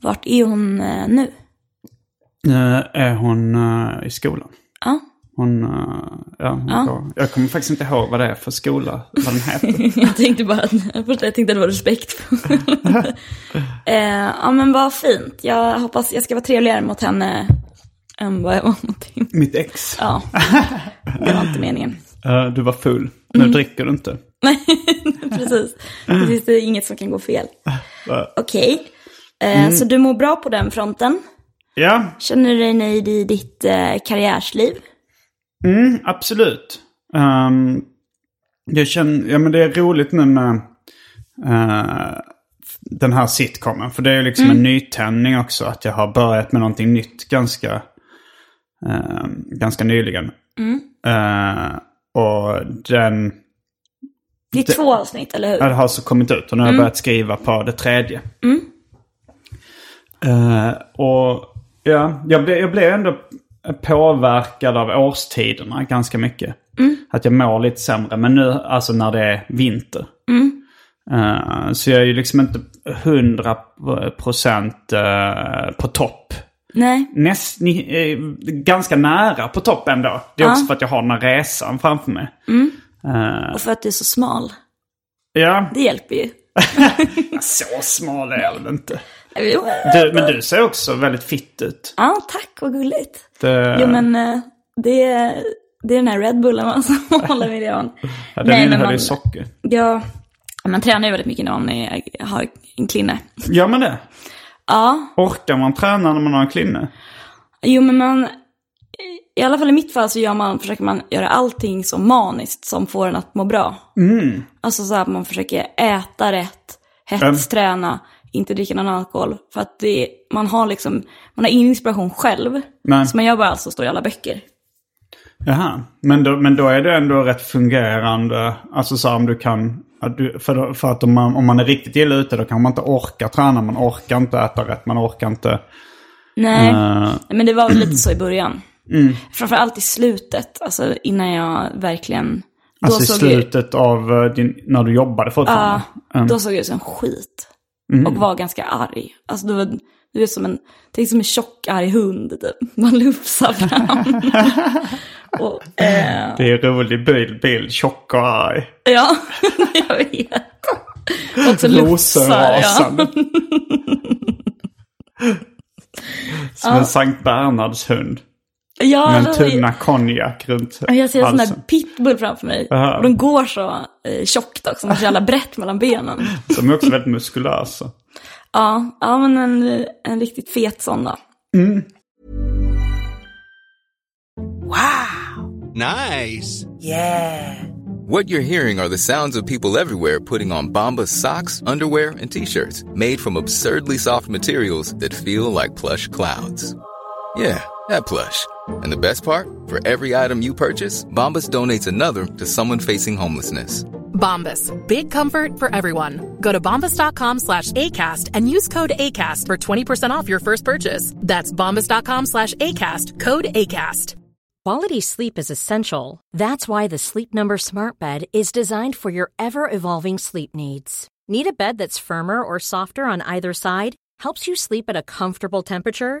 Vart är hon eh, nu? Nu är hon eh, i skolan. Ja. Hon, eh, ja, hon går. Jag kommer faktiskt inte ihåg vad det är för skola, vad den heter. Jag tänkte bara att, först jag tänkte att det var respektfullt. eh, ja men vad fint. Jag hoppas jag ska vara trevligare mot henne än vad jag var mot din. Mitt ex. Ja, det var inte meningen. Eh, du var full. Nu dricker du inte. Precis. Det finns det inget som kan gå fel. Okej. Eh, Så du mår bra på den fronten? Ja, Känner du dig nöjd i ditt eh, karriärsliv? mm, absolut. Ehm, jag känner, ja men det är roligt nu med eh, den här sitcomen. För det är ju liksom en nytändning också. Att jag har börjat med någonting nytt ganska, ehm, ganska nyligen. Eh, och den... Det är två avsnitt, eller hur? Ja, det har alltså kommit ut och nu har jag börjat skriva på det tredje. Eh, och ja, jag blev, jag blev ändå påverkad av årstiderna ganska mycket. Att jag mår lite sämre. Men nu, alltså när det är vinter. Mm. Eh, så jag är ju liksom inte hundra procent eh, på topp. Nej. Näst, ni, eh, ganska nära på topp ändå. Det är också för att jag har den här resan framför mig. Och för att du är så smal. Ja, Det hjälper ju. så smal är jag väl inte. Jo, eh, Du, men du ser också väldigt fitt ut. Ja, tack, vad gulligt. Det, Jo, men eh, det är, det är den här Red Bullen man som håller miljön. den innehöll ju socker. ja, man tränar ju väldigt mycket när man är, har en klinne. Gör man det? Ja, Orkar man träna när man har en klinne? jo men man, i alla fall i mitt fall så gör man, försöker man göra allting så maniskt som får en att må bra. Mm. Alltså så att man försöker äta rätt, hetsträna, inte dricka någon alkohol. För att det, man har liksom, man har ingen inspiration själv. Nej. Så man gör bara allt som står i alla böcker. Jaha. Men då, men då är det ändå rätt fungerande. Alltså så här, om du kan... Att du, för, då- för att om man, om man är riktigt illa ute då kan man inte orka träna. Man orkar inte äta rätt. Man orkar inte... Nej, Eh. men det var Mm. väl lite så i början. Framförallt i slutet, alltså innan jag verkligen Alltså i såg slutet av eh, din, när du jobbade för ett Ja, mm. då såg jag ut som skit. Och var ganska arg. Alltså du, var- du är som en, tänk som en tjock arg hund typ. Man lufsar fram. och, eh, Det är en rolig bild, bild tjock och arg. ja, jag vet. Och så lufsar jag. Rosenrasande. Som en Sankt Bernhards hund. Ja, Med en alltså, tunna konjak runt jag ser en sån där halsen. pitbull framför mig. Aha. Och den går så eh, tjockt också, man har så jävla brett mellan benen. Som är också väldigt muskulösa. Ja, ja men en, en riktigt fet sån då. Nice. Yeah. What you're hearing are the sounds of people everywhere putting on Bombas socks, underwear, and t-shirts made from absurdly soft materials that feel like plush clouds. Yeah, that plush. And the best part? For every item you purchase, Bombas donates another to someone facing homelessness. Bombas. Big comfort for everyone. Go to bombas.com slash ACAST and use code ACAST for 20% off your first purchase. That's bombas.com slash ACAST, code ACAST. Quality sleep is essential. That's why the Sleep Number Smart Bed is designed for your ever evolving sleep needs. Need a bed that's firmer or softer on either side? Helps you sleep at a comfortable temperature?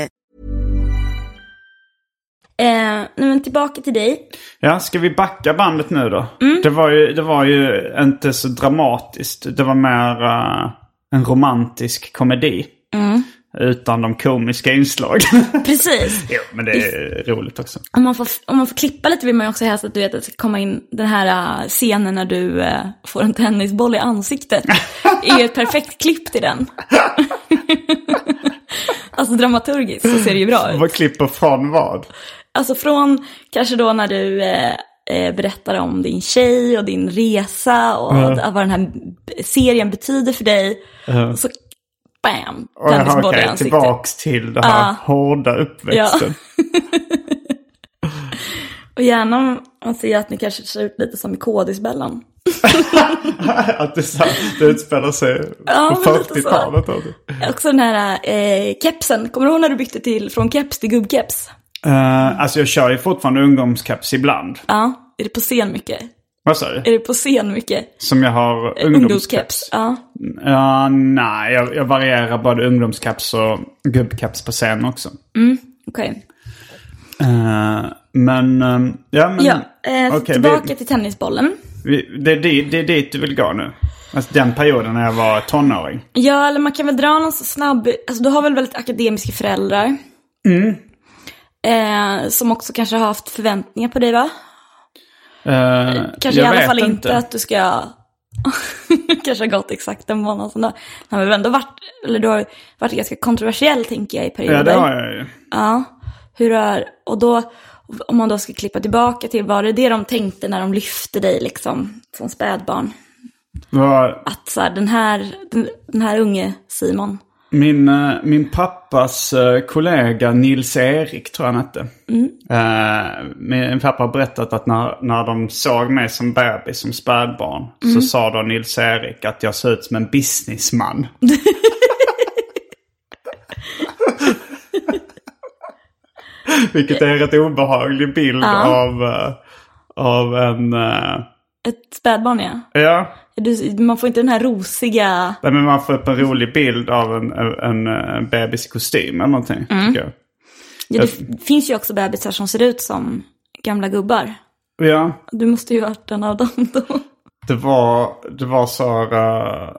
Eh, nej men tillbaka till dig. Ja, ska vi backa bandet nu då? Mm. Det, var ju, det var ju inte så dramatiskt. Det var mer eh, en romantisk komedi. Mm. Utan de komiska inslagen. Precis. jo, men det är roligt också. Om man, får, om man får klippa lite vill man ju också helst att du vet att det ska komma in den här eh, scenen när du eh, får en tennisboll i ansiktet. Det är ju ett perfekt klipp till den. alltså dramaturgiskt så ser det ju bra ut. Vad klipper från vad? Alltså från kanske då när du eh, eh, berättar om din tjej och din resa och vad- vad den här b- serien betyder för dig. Och så bam, Jaha, tennisboll i Okej, ansiktet. tillbaks till den här Ah. hårda uppväxten. Och gärna om man ser att ni kanske ser ut lite som i Kodisbällan. att det, är så här, det utspelar sig Ja, på men lite så. 40-talet. Uh, Också den här eh, kepsen, kommer du ihåg när du bytte till från keps till gubbkeps? alltså jag kör ju fortfarande ungdomskeps ibland. Ja, är det på scen mycket? Vad sa du? Är det på scen mycket? Som jag har Eh, Ungdomskeps? ungdomskeps. Ja. Ja, nej, jag, jag varierar både ungdomskeps och gubbkeps på scen också. Okej. Eh, men, eh, ja men. Ja, eh, Mm. okej, tillbaka vi, till tennisbollen. vi, det, är di- det är dit du vill gå nu. Alltså den perioden när jag var tonåring. Ja, eller man kan väl dra någon så snabb, alltså du har väl väldigt akademiska föräldrar? Mm. Eh, som också kanske har haft förväntningar på dig va? Eh, Kanske i jag alla vet fall inte. att du ska... kanske har gått exakt en månad sedan då. Nej, men du har ändå varit, eller du har varit ganska kontroversiell tänker jag i perioder. Ja, det har jag ju. Ja, hur är, och då, om man då ska klippa tillbaka till, var det det de tänkte när de lyfte dig liksom, som spädbarn? Var, Att så här, den här, den, den här unge Simon, Min, eh, min pappas eh, kollega Nils-Erik, tror jag han hette. Eh, Min pappa har berättat att när, när de såg mig som bebis, som spädbarn, så sa då Nils-Erik att jag såg ut som en businessman. Vilket är en rätt obehaglig bild av, eh, av en... eh, ett spädbarn ja. Ja, Du, man får inte den här rosiga, Nej, men man får upp en rolig bild av en, en, en, eh, bebis i kostym eller någonting. Tycker jag. ja, det f- finns ju också bebisar som ser ut som gamla gubbar. Ja, Du måste ju ha varit en av dem då. Det var, det var så... eh,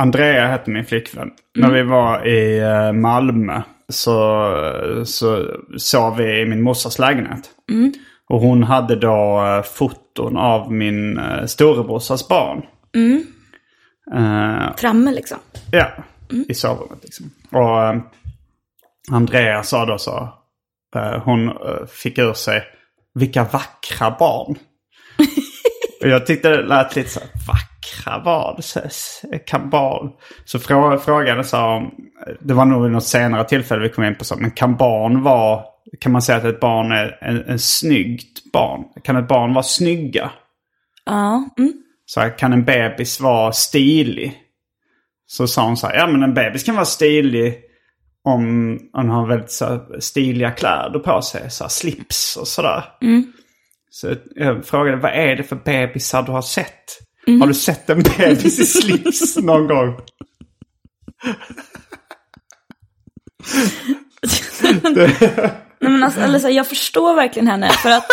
Andrea hette min flickvän. När vi var i eh, Malmö så, så sov vi i min morsas lägenhet. Och hon hade då eh, foton av min uh, storebrorsas barn. Eh, Framme liksom. Ja, i sovrummet liksom. Och eh, Andrea sa då så, eh, hon eh, fick ur sig, vilka vackra barn. Och jag tyckte det lät lite så här, vackra barn, så- s- kan barn. Så frå, frågade sa hon, det var nog vid något senare tillfälle vi kom in på så, men kan barn vara, kan man säga att ett barn är en, en snyggt barn? Kan ett barn vara snygga? Ja. Mm. Så här, kan en bebis vara stilig? Så sa hon så här, ja men en bebis kan vara stilig om om hon har väldigt så här, stiliga kläder på sig. Så här, slips och sådär. Så jag frågade, vad är det för bebisar du har sett? Har du sett en bebis i slips någon gång? Nej, men alltså, eller så här, jag förstår verkligen henne för att...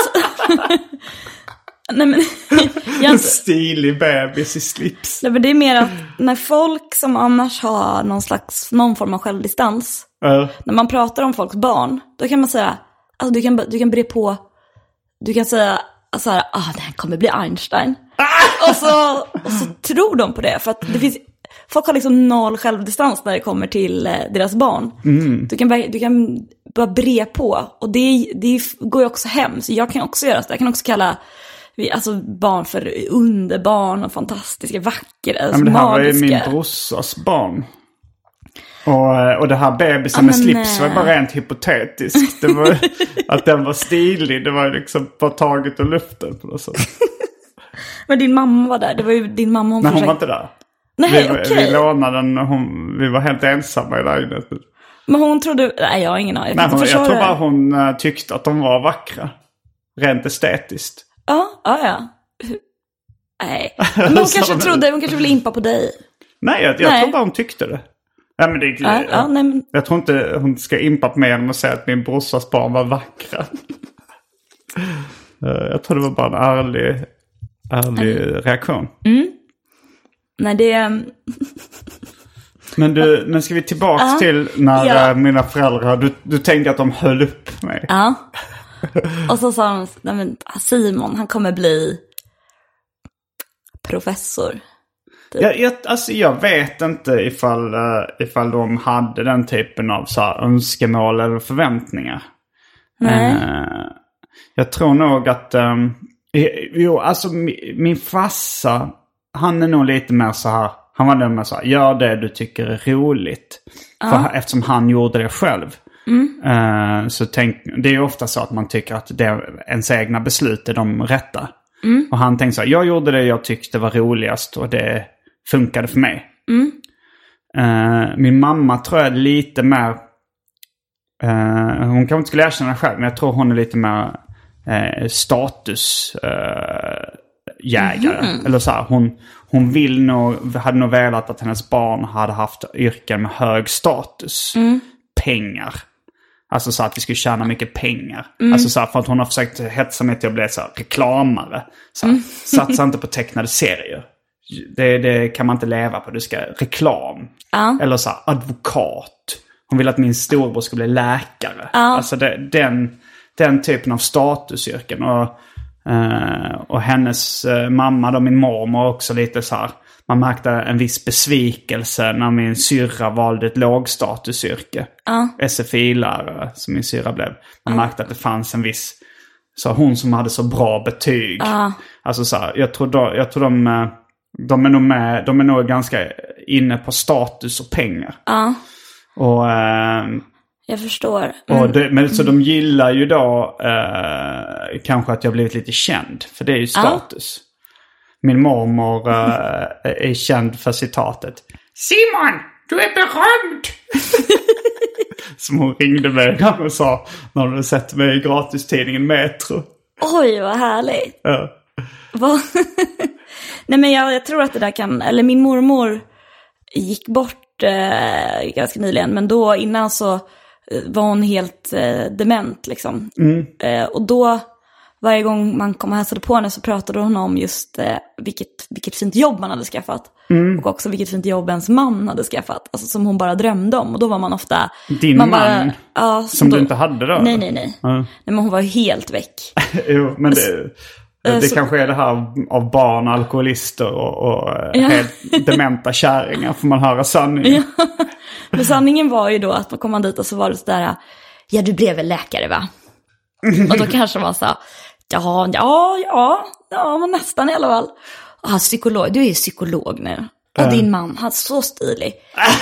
Nej, men, jag, har En inte- stilig bebis i slips. nej, men det är mer att när folk som annars har någon slags, någon form av självdistans, Ja. när man pratar om folks barn, då kan man säga, alltså du kan, du kan bre på, du kan säga så här, ah det här kommer bli Einstein. Ah! Och, så, och så tror de på det, för att det finns, folk har liksom noll självdistans när det kommer till eh, deras barn. Mm. Du, kan, verk- du kan bara bre på, och det, är- det är- går ju också hem, så jag kan också göra så, jag kan också kalla vi- Alltså barn för underbarn och fantastiska, vackra, Ja, alltså, men det här var ju magiska. min brorsas barn. Och, eh, och det här bebisen Ja, med men, slips var eh. bara rent hypotetiskt. Det var, att den var stilig, det var ju liksom bara taget ur luften på något sätt. Men din mamma var där, det var ju din mamma hon Men hon var försökte- inte där. Nej, Vi, okej. vi lånade den, hon, vi var helt ensamma i lägenheten. Men hon trodde, nej jag har ingen aning. Jag, kan Nej, inte hon, jag försvara tror det. bara hon eh, tyckte att de var vackra. Rent estetiskt. Ja, ja, ja. Nej. Men hon Sa kanske hon. trodde, hon kanske ville impa på dig. Nej, jag, jag Nej. tror bara hon tyckte det. Nej, men det är, Ja, ja, nej, men, Jag tror inte hon ska impa på mig genom att säga att min brorsas barn var vackra. Eh, jag tror det var bara en ärlig, ärlig reaktion. nej det, är- Men, du, men ska vi tillbaks till när Ja. eh, mina föräldrar, du, du tänker att de höll upp mig. ja. Och så sa hon, nej men Simon, han kommer bli professor. Jag, jag, alltså jag vet inte ifall, eh, ifall de hade den typen av så här, önskemål eller förväntningar. Nej. Eh, jag tror nog att... ehm, eh, jo, alltså mi- min farsa, han är nog lite mer så här... Han var nog mer så här, gör det du tycker är roligt. För, eftersom han gjorde det själv. Eh, så tänk, det är ju ofta så att man tycker att det, ens egna beslut är de rätta. Och han tänkte så här, jag gjorde det jag tyckte var roligast och det funkade för mig. Eh, min mamma tror jag är lite mer Eh, hon kanske inte skulle erkänna det själv, men jag tror hon är lite mer eh, statusjägare. Eh, jägare. Eller så här, hon, hon vill nog, hade nog velat att hennes barn hade haft yrken med hög status. Pengar. Alltså så att vi skulle tjäna mycket pengar. Alltså så här, för att hon har försökt hetsa mig till att bli så här, reklamare. Så här, Satsa inte på tecknade serier. Det, det kan man inte leva på. Du ska reklam. Eller så här, advokat. Hon vill att min storbror ska bli läkare. Alltså det, den, den typen av statusyrken. Och, eh, och hennes eh, mamma, då, min mormor, också lite så här. Man märkte en viss besvikelse när min syrra valde ett lågstatusyrke. SFI-lärare, som min syrra blev. Man märkte att det fanns en viss... Så hon som hade så bra betyg. Alltså så här, jag tror, då, jag tror de, eh, de är nog med, de är nog ganska inne på status och pengar. Och, eh, Jag förstår. och det, men så de gillar ju då eh, kanske att jag blivit lite känd, för det är ju status. Min mormor eh, är känd för citatet. Simon, du är berömd! Som hon ringde mig när hon sa när hon hade sett mig i gratistidningen Metro. Oj, vad härligt. Ja. Vad- Nej men jag, jag tror att det där kan, eller min mormor gick bort eh, ganska nyligen, men då innan Mm. så eh, var hon helt eh, dement liksom. Eh, och då varje gång man kom och hälsade på henne så pratade hon om just eh, vilket, vilket fint jobb man hade skaffat. Mm. Och också vilket fint jobb ens man hade skaffat. Alltså som hon bara drömde om. Och då var man ofta... Din man man? ja, så Som du då- inte hade då? Nej, nej, nej. Ja. Nej, men hon var helt väck. Jo, men det, det eh, så- kanske är det här av barn, alkoholister och, och eh, Ja. helt dementa kärringar får man höra sanningen. Men sanningen var ju då att man kom man dit och så var det sådär, ja du blev väl läkare va? Och då kanske man sa, ja, ja, ja, ja, men nästan i alla fall. Ah, psykolog, du är ju psykolog nu. Och din man, han är så stilig.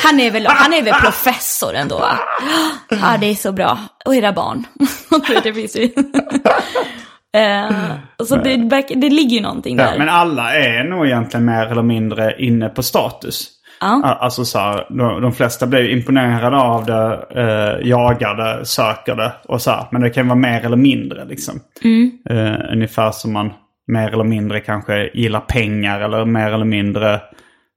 Han är väl, han är väl professor ändå va? Ja, det är så bra. Och era barn. det finns ju. Eh, så det, det ligger ju någonting Ja, där. men alla är nog egentligen mer eller mindre inne på status. A- Alltså så här, de, de flesta blir imponerade av det, eh, jagar det, söker det och så här. Men det kan vara mer eller mindre liksom. Eh, ungefär som man mer eller mindre kanske gillar pengar eller mer eller mindre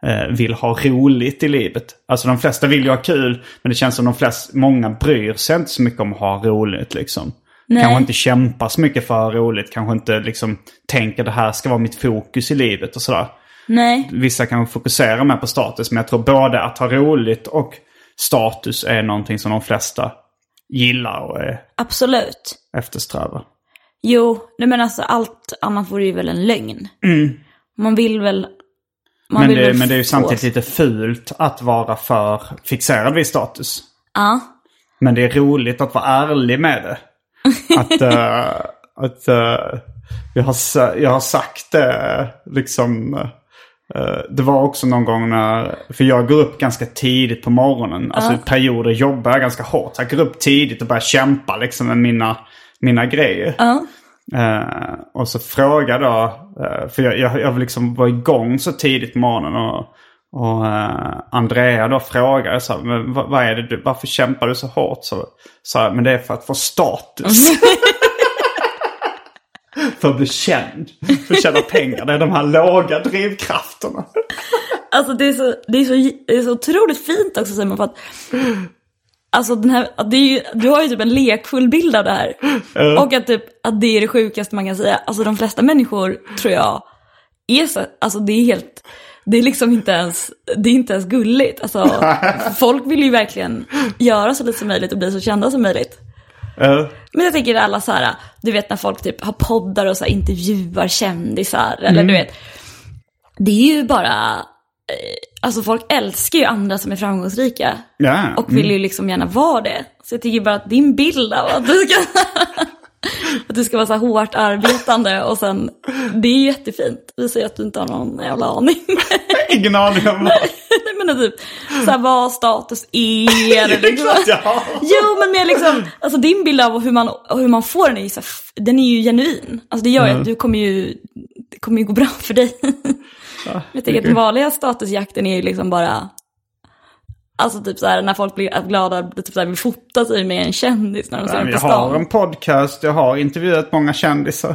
eh, vill ha roligt i livet. Alltså de flesta vill ju ha kul men det känns som de flesta, många bryr sig inte så mycket om att ha roligt liksom. Kanske inte kämpar så mycket för roligt, kanske inte liksom tänker det här ska vara mitt fokus i livet och sådär. Nej. Vissa kanske fokuserar mer på status men jag tror både att ha roligt och status är någonting som de flesta gillar och eh, Absolut. eftersträvar. Jo, nej men alltså allt annat vore ju väl en lögn. Man vill väl... Man Mm. Men vill det, väl men det är ju få- samtidigt lite fult att vara för fixerad vid status. Ja, Men det är roligt att vara ärlig med det. Att, eh, att eh, jag, har, sa- jag har sagt det liksom. eh, det var också någon gång när, för jag går upp ganska tidigt på morgonen. Alltså i perioder jobbar jag ganska hårt. Jag går upp tidigt och börjar kämpa liksom med mina, mina grejer. Eh, och så fråga då, eh, för jag, jag, jag vill liksom vara igång så tidigt på morgonen. Och, och eh, Andrea då frågade så här, men vad, vad är det du, varför kämpar du så hårt? Så, så här, men det är för att få status. för att bli känd, för att tjäna pengar. Det är de här låga drivkrafterna. alltså det är, så, det, är så, det är så otroligt fint också Simon för att... Alltså den här, att det är ju, du har ju typ en lekfull bild av det här. Och att, typ, att det är det sjukaste man kan säga. Alltså de flesta människor tror jag är så, alltså det är helt, det är liksom inte ens, det är inte ens gulligt. Alltså folk vill ju verkligen göra så lite som möjligt och bli så kända som möjligt. Eh, Men jag tänker alla så här, du vet när folk typ har poddar och så här, intervjuar kändisar, eller du vet. Det är ju bara, eh, alltså folk älskar ju andra som är framgångsrika. Ja. Och vill ju liksom gärna vara det. Så jag tycker bara att din bild av att du ska, att du ska vara så här hårt arbetande och sen, det är jättefint. Det visar ju att du inte har någon jävla aning. Ingen aning om vad. Nej men typ, så här, vad status är. Det är klart jag har. Jo men mer liksom, alltså din bild av hur man, hur man får den är ju så här, f- den är ju genuin. Alltså det Mm. gör ju att du kommer ju, det kommer ju gå bra för dig. Jag tänker att den vanliga statusjakten är ju liksom bara, alltså typ så här när folk blir glada, typ så här vill fota sig med en kändis när de ser den på Jag har stan. en podcast, jag har intervjuat många kändisar.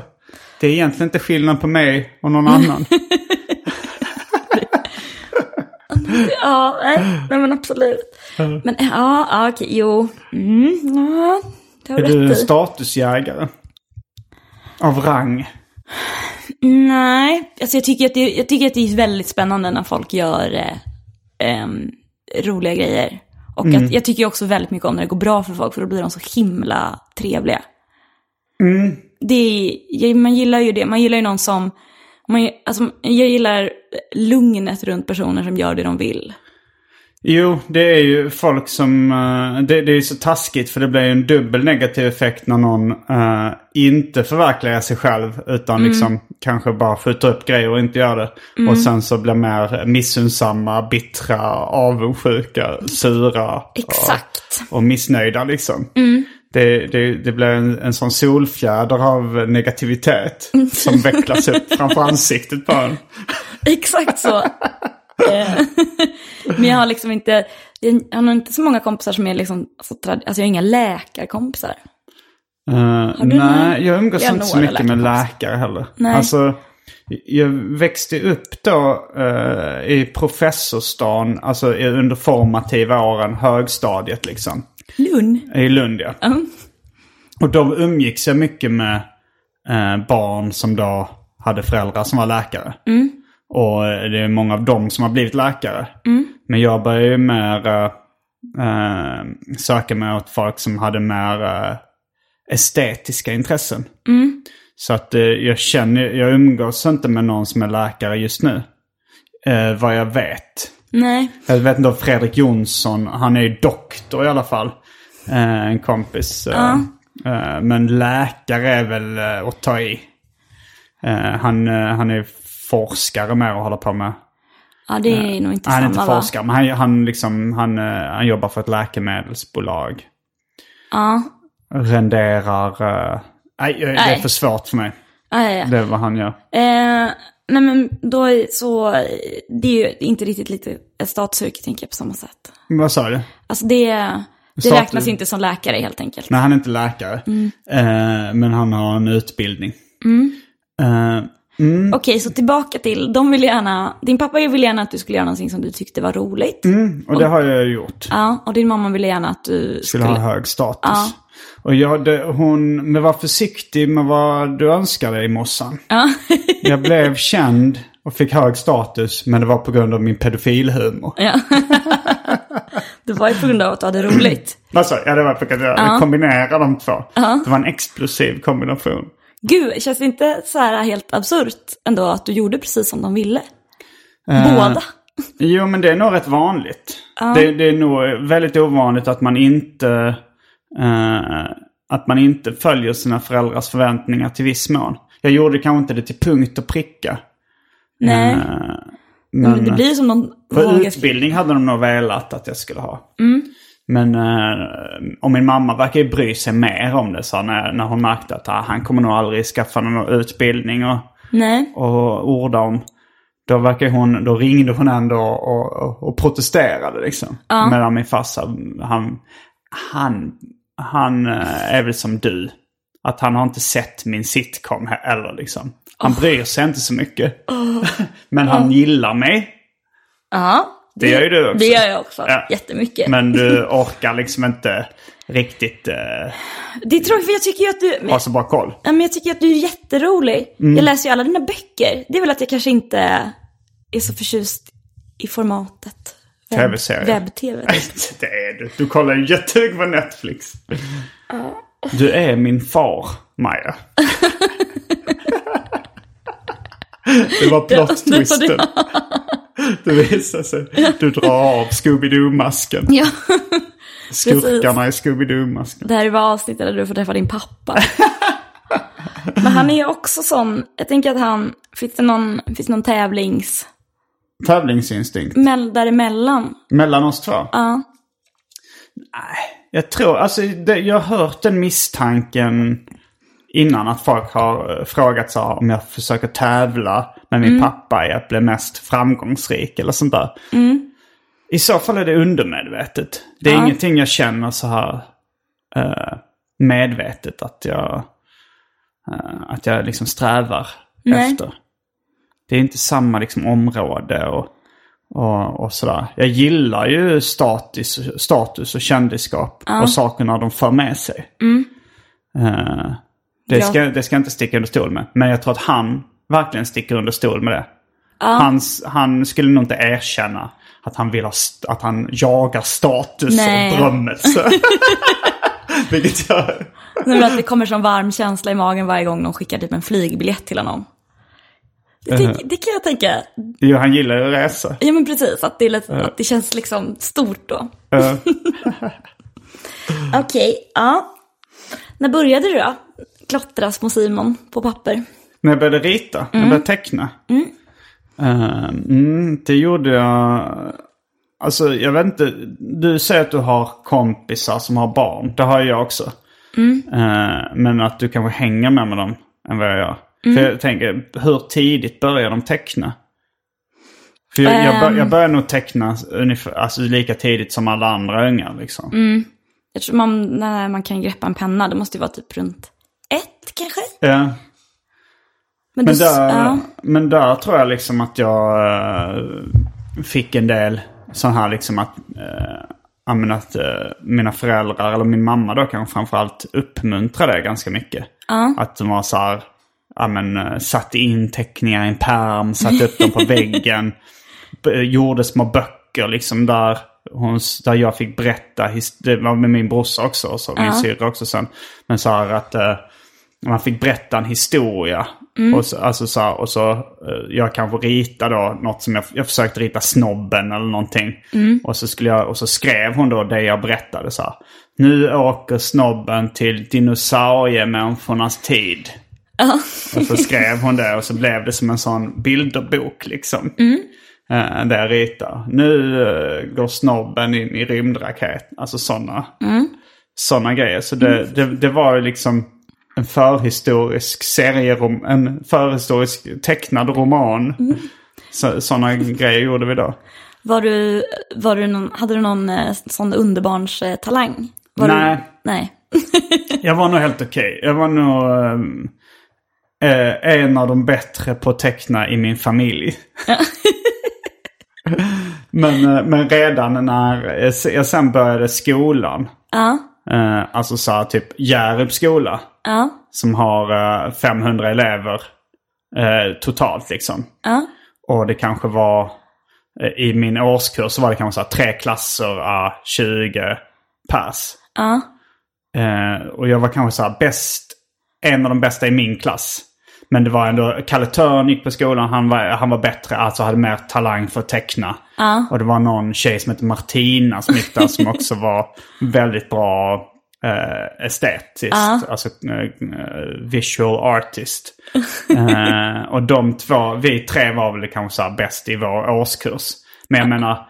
Det är egentligen inte skillnad på mig och någon annan. Ja, nej, nej men absolut. Men ja, ja okej, jo. Mm, ja, det har Är du du en rätt i. statusjägare? Av rang? Nej, alltså jag tycker, att det, jag tycker att det är väldigt spännande när folk gör eh, ehm, roliga grejer. Och att, jag tycker också väldigt mycket om när det går bra för folk, för då blir de så himla trevliga. Det är, jag, man gillar ju det, man gillar ju någon som, man, alltså, jag gillar lugnet runt personer som gör det de vill. Jo, det är ju folk som... eh, Det, det är ju så taskigt för det blir ju en dubbel negativ effekt när någon eh, inte förverkligar sig själv utan liksom kanske bara skjuter upp grejer och inte gör det. Och sen så blir mer missunnsamma, bittra, avundsjuka, sura. Exakt. och missnöjda liksom. Det, det, det blir en, en sån solfjäder av negativitet som vecklas upp framför ansiktet på en. Exakt så. Eh, Men jag har liksom inte, jag har nog inte så många kompisar som är liksom, så trad- alltså jag har inga läkarkompisar. Eh, nej, jag umgås Jag har inte så några mycket med läkare läkare heller. Nej. Alltså, jag växte upp då eh, i professorstan, alltså i- under formativa åren, högstadiet liksom. Lund. I Lund ja. Och då umgicks jag mycket med eh, barn som då hade föräldrar som var läkare. Och eh, det är många av dem som har blivit läkare. Men jag började ju mer eh, eh, söka mig åt folk som hade mer eh, estetiska intressen. Så att eh, jag känner, jag umgås inte med någon som är läkare just nu. Eh, vad jag vet. Nej. Jag vet inte om Fredrik Jonsson, han är ju doktor i alla fall. Eh, en kompis. Eh, eh, men läkare är väl eh, att ta i. Eh, han, eh, han är forskare med och håller på med. Ja, det är nog inte han är samma inte va? forskare, men han, han, liksom, han, eh, han jobbar för ett läkemedelsbolag. Ja. Renderar... eh, nej, eh, det är Nej. för svårt för mig. Ja, ja, ja. Det är vad han gör. Eh, nej men då är så, eh, det är ju inte riktigt lite ett statsyrke tänker jag på samma sätt. Vad sa du? Alltså det, det Statlig- räknas inte som läkare helt enkelt. Nej, han är inte läkare. Mm. Eh, men han har en utbildning. Eh, Okej, så tillbaka till, de vill gärna, din pappa vill gärna att du skulle göra någonting som du tyckte var roligt. och det har jag gjort. Ja, och din mamma ville gärna att du Mm. skulle skulle... ha hög status. Och jag, det, hon, men var försiktig med vad du önskar dig morsan. jag blev känd och fick hög status men det var på grund av min pedofilhumor. Det var ju på grund av att du hade roligt. Alltså, ja, det var på grund av att jag kombinerade de två. Det var en explosiv kombination. Gud, känns det inte så här helt absurt ändå att du gjorde precis som de ville? Eh, Båda. Jo, men det är nog rätt vanligt. Det, det är nog väldigt ovanligt att man inte... eh, att man inte följer sina föräldrars förväntningar till viss mån. Jag gjorde kanske inte det till punkt och pricka. Nej, Eh, men det blir ju som någon... För utbildning hade de nog velat att jag skulle ha. Men eh, och min mamma verkar ju bry sig mer om det så när, när hon märkte att ah, han kommer nog aldrig skaffa någon utbildning och, Nej, och orda om. Då, verkar hon, då ringde hon ändå och, och, och protesterade liksom. Medan min farsa, han, han, han eh, är väl som du. Att han har inte sett min sitcom heller liksom. Oh. Han bryr sig inte så mycket. Men han gillar mig. ja. Det gör ju du också. Mm, Det gör jag också, Ja. jättemycket. Men du orkar liksom inte riktigt eh, Det är tråkigt för jag tycker ju att du... Men, ha så bra koll. ja, men jag tycker att du är jätterolig. Mm. Jag läser ju alla dina böcker. Det är väl att jag kanske inte är så förtjust i formatet. Webb- TV-serier. Webb-tv. Det är du. Du kollar ju jättehög på Netflix. Du är min far, Maja. Det var plot det var det. twisten. Det visar sig. Du drar av Scooby-Doo-masken. Ja, Skurkarna i Scooby-Doo-masken. det här var avsnittet där du får träffa din pappa. Men han är ju också sån, jag tänker att han, finns det någon, finns det någon tävlings, Tävlingsinstinkt. mell- däremellan? Mellan oss två? Ja. Nej, jag tror, alltså det, jag har hört den misstanken innan att folk har eh, frågat så här, om jag försöker tävla med min pappa i att bli mest framgångsrik eller sånt där. I så fall är det undermedvetet. Det är ingenting jag känner så här eh, medvetet att jag, eh, att jag liksom strävar Nej. efter. Det är inte samma liksom område och och, och sådär. Jag gillar ju status, status och kändisskap och sakerna de för med sig. Eh, det, Mm. Ja. ska, det ska jag inte sticka under stol med. Men jag tror att han verkligen sticker under stol med det. Hans, han skulle nog inte erkänna att han, vill ha st- att han jagar status Nej. och berömmelse. Vilket jag... Nej, men att det kommer som varm känsla i magen varje gång någon skickar typ en flygbiljett till honom. Det, tänk, Uh-huh. det kan jag tänka, Jo, han gillar ju att resa. ja men precis, att det, är lite, att det känns liksom stort då. Eh, Okej, ja. När började du då? Klottra små Simon på papper. När jag började rita, när jag började teckna. Eh, mm, det gjorde jag... Alltså jag vet inte, du säger att du har kompisar som har barn. Det har jag också. Eh, men att du kanske hänger med, med dem än vad jag gör. För jag tänker, hur tidigt börjar de teckna? För jag, jag, bör, jag började nog teckna ungefär, alltså lika tidigt som alla andra ungar liksom. Jag tror man, när man kan greppa en penna, det måste ju vara typ runt ett kanske? Ja. Men, Men du, där, ja. men där tror jag liksom att jag eh, fick en del sån här liksom att, eh, ja, men att eh, mina föräldrar, eller min mamma då kanske framförallt, uppmuntrade det ganska mycket. Att de var så här, ja, men, eh, satte in teckningar i en pärm, satte upp dem på väggen, b- gjorde små böcker liksom där, hon, s- där jag fick berätta, his- det var med min brorsa också, och så, min syrra också sen. Men så här att eh, man fick berätta en historia. Och så, alltså så här, och så, eh, jag kanske ritade då något som jag, jag försökte rita snobben eller någonting. Och, så skulle jag, och så skrev hon då det jag berättade så här. Nu åker snobben till dinosauriemänniskornas tid. Och så skrev hon det och så blev det som en sån bilderbok liksom. Eh, där jag ritar. Nu eh, går snobben in i rymdraket. Alltså sådana såna grejer. Så det, det, det var ju liksom en förhistorisk serierom, en förhistorisk tecknad roman. Så, sådana grejer gjorde vi då. Var du, var du någon, hade du någon eh, sån underbarns eh, talang? Var Nej. Du, nej. Jag var nog helt okej. Jag var nog ehm, eh, en av de bättre på att teckna i min familj. men, eh, men redan när jag se- jag sen började skolan. Eh, alltså så här, typ Hjärups skola. Som har eh, 500 elever eh, totalt liksom. Och det kanske var eh, i min årskurs så var det kanske så här, tre klasser av 20 pers. Eh, och jag var kanske så här bäst, en av de bästa i min klass. Men det var ändå, Kalle Törn gick på skolan, han var, han var bättre, alltså hade mer talang för att teckna. Och det var någon tjej som hette Martina som gick där som också var väldigt bra eh, estetiskt. Alltså eh, visual artist. Eh, och de två, vi tre var väl kanske så här bäst i vår årskurs. Men jag menar,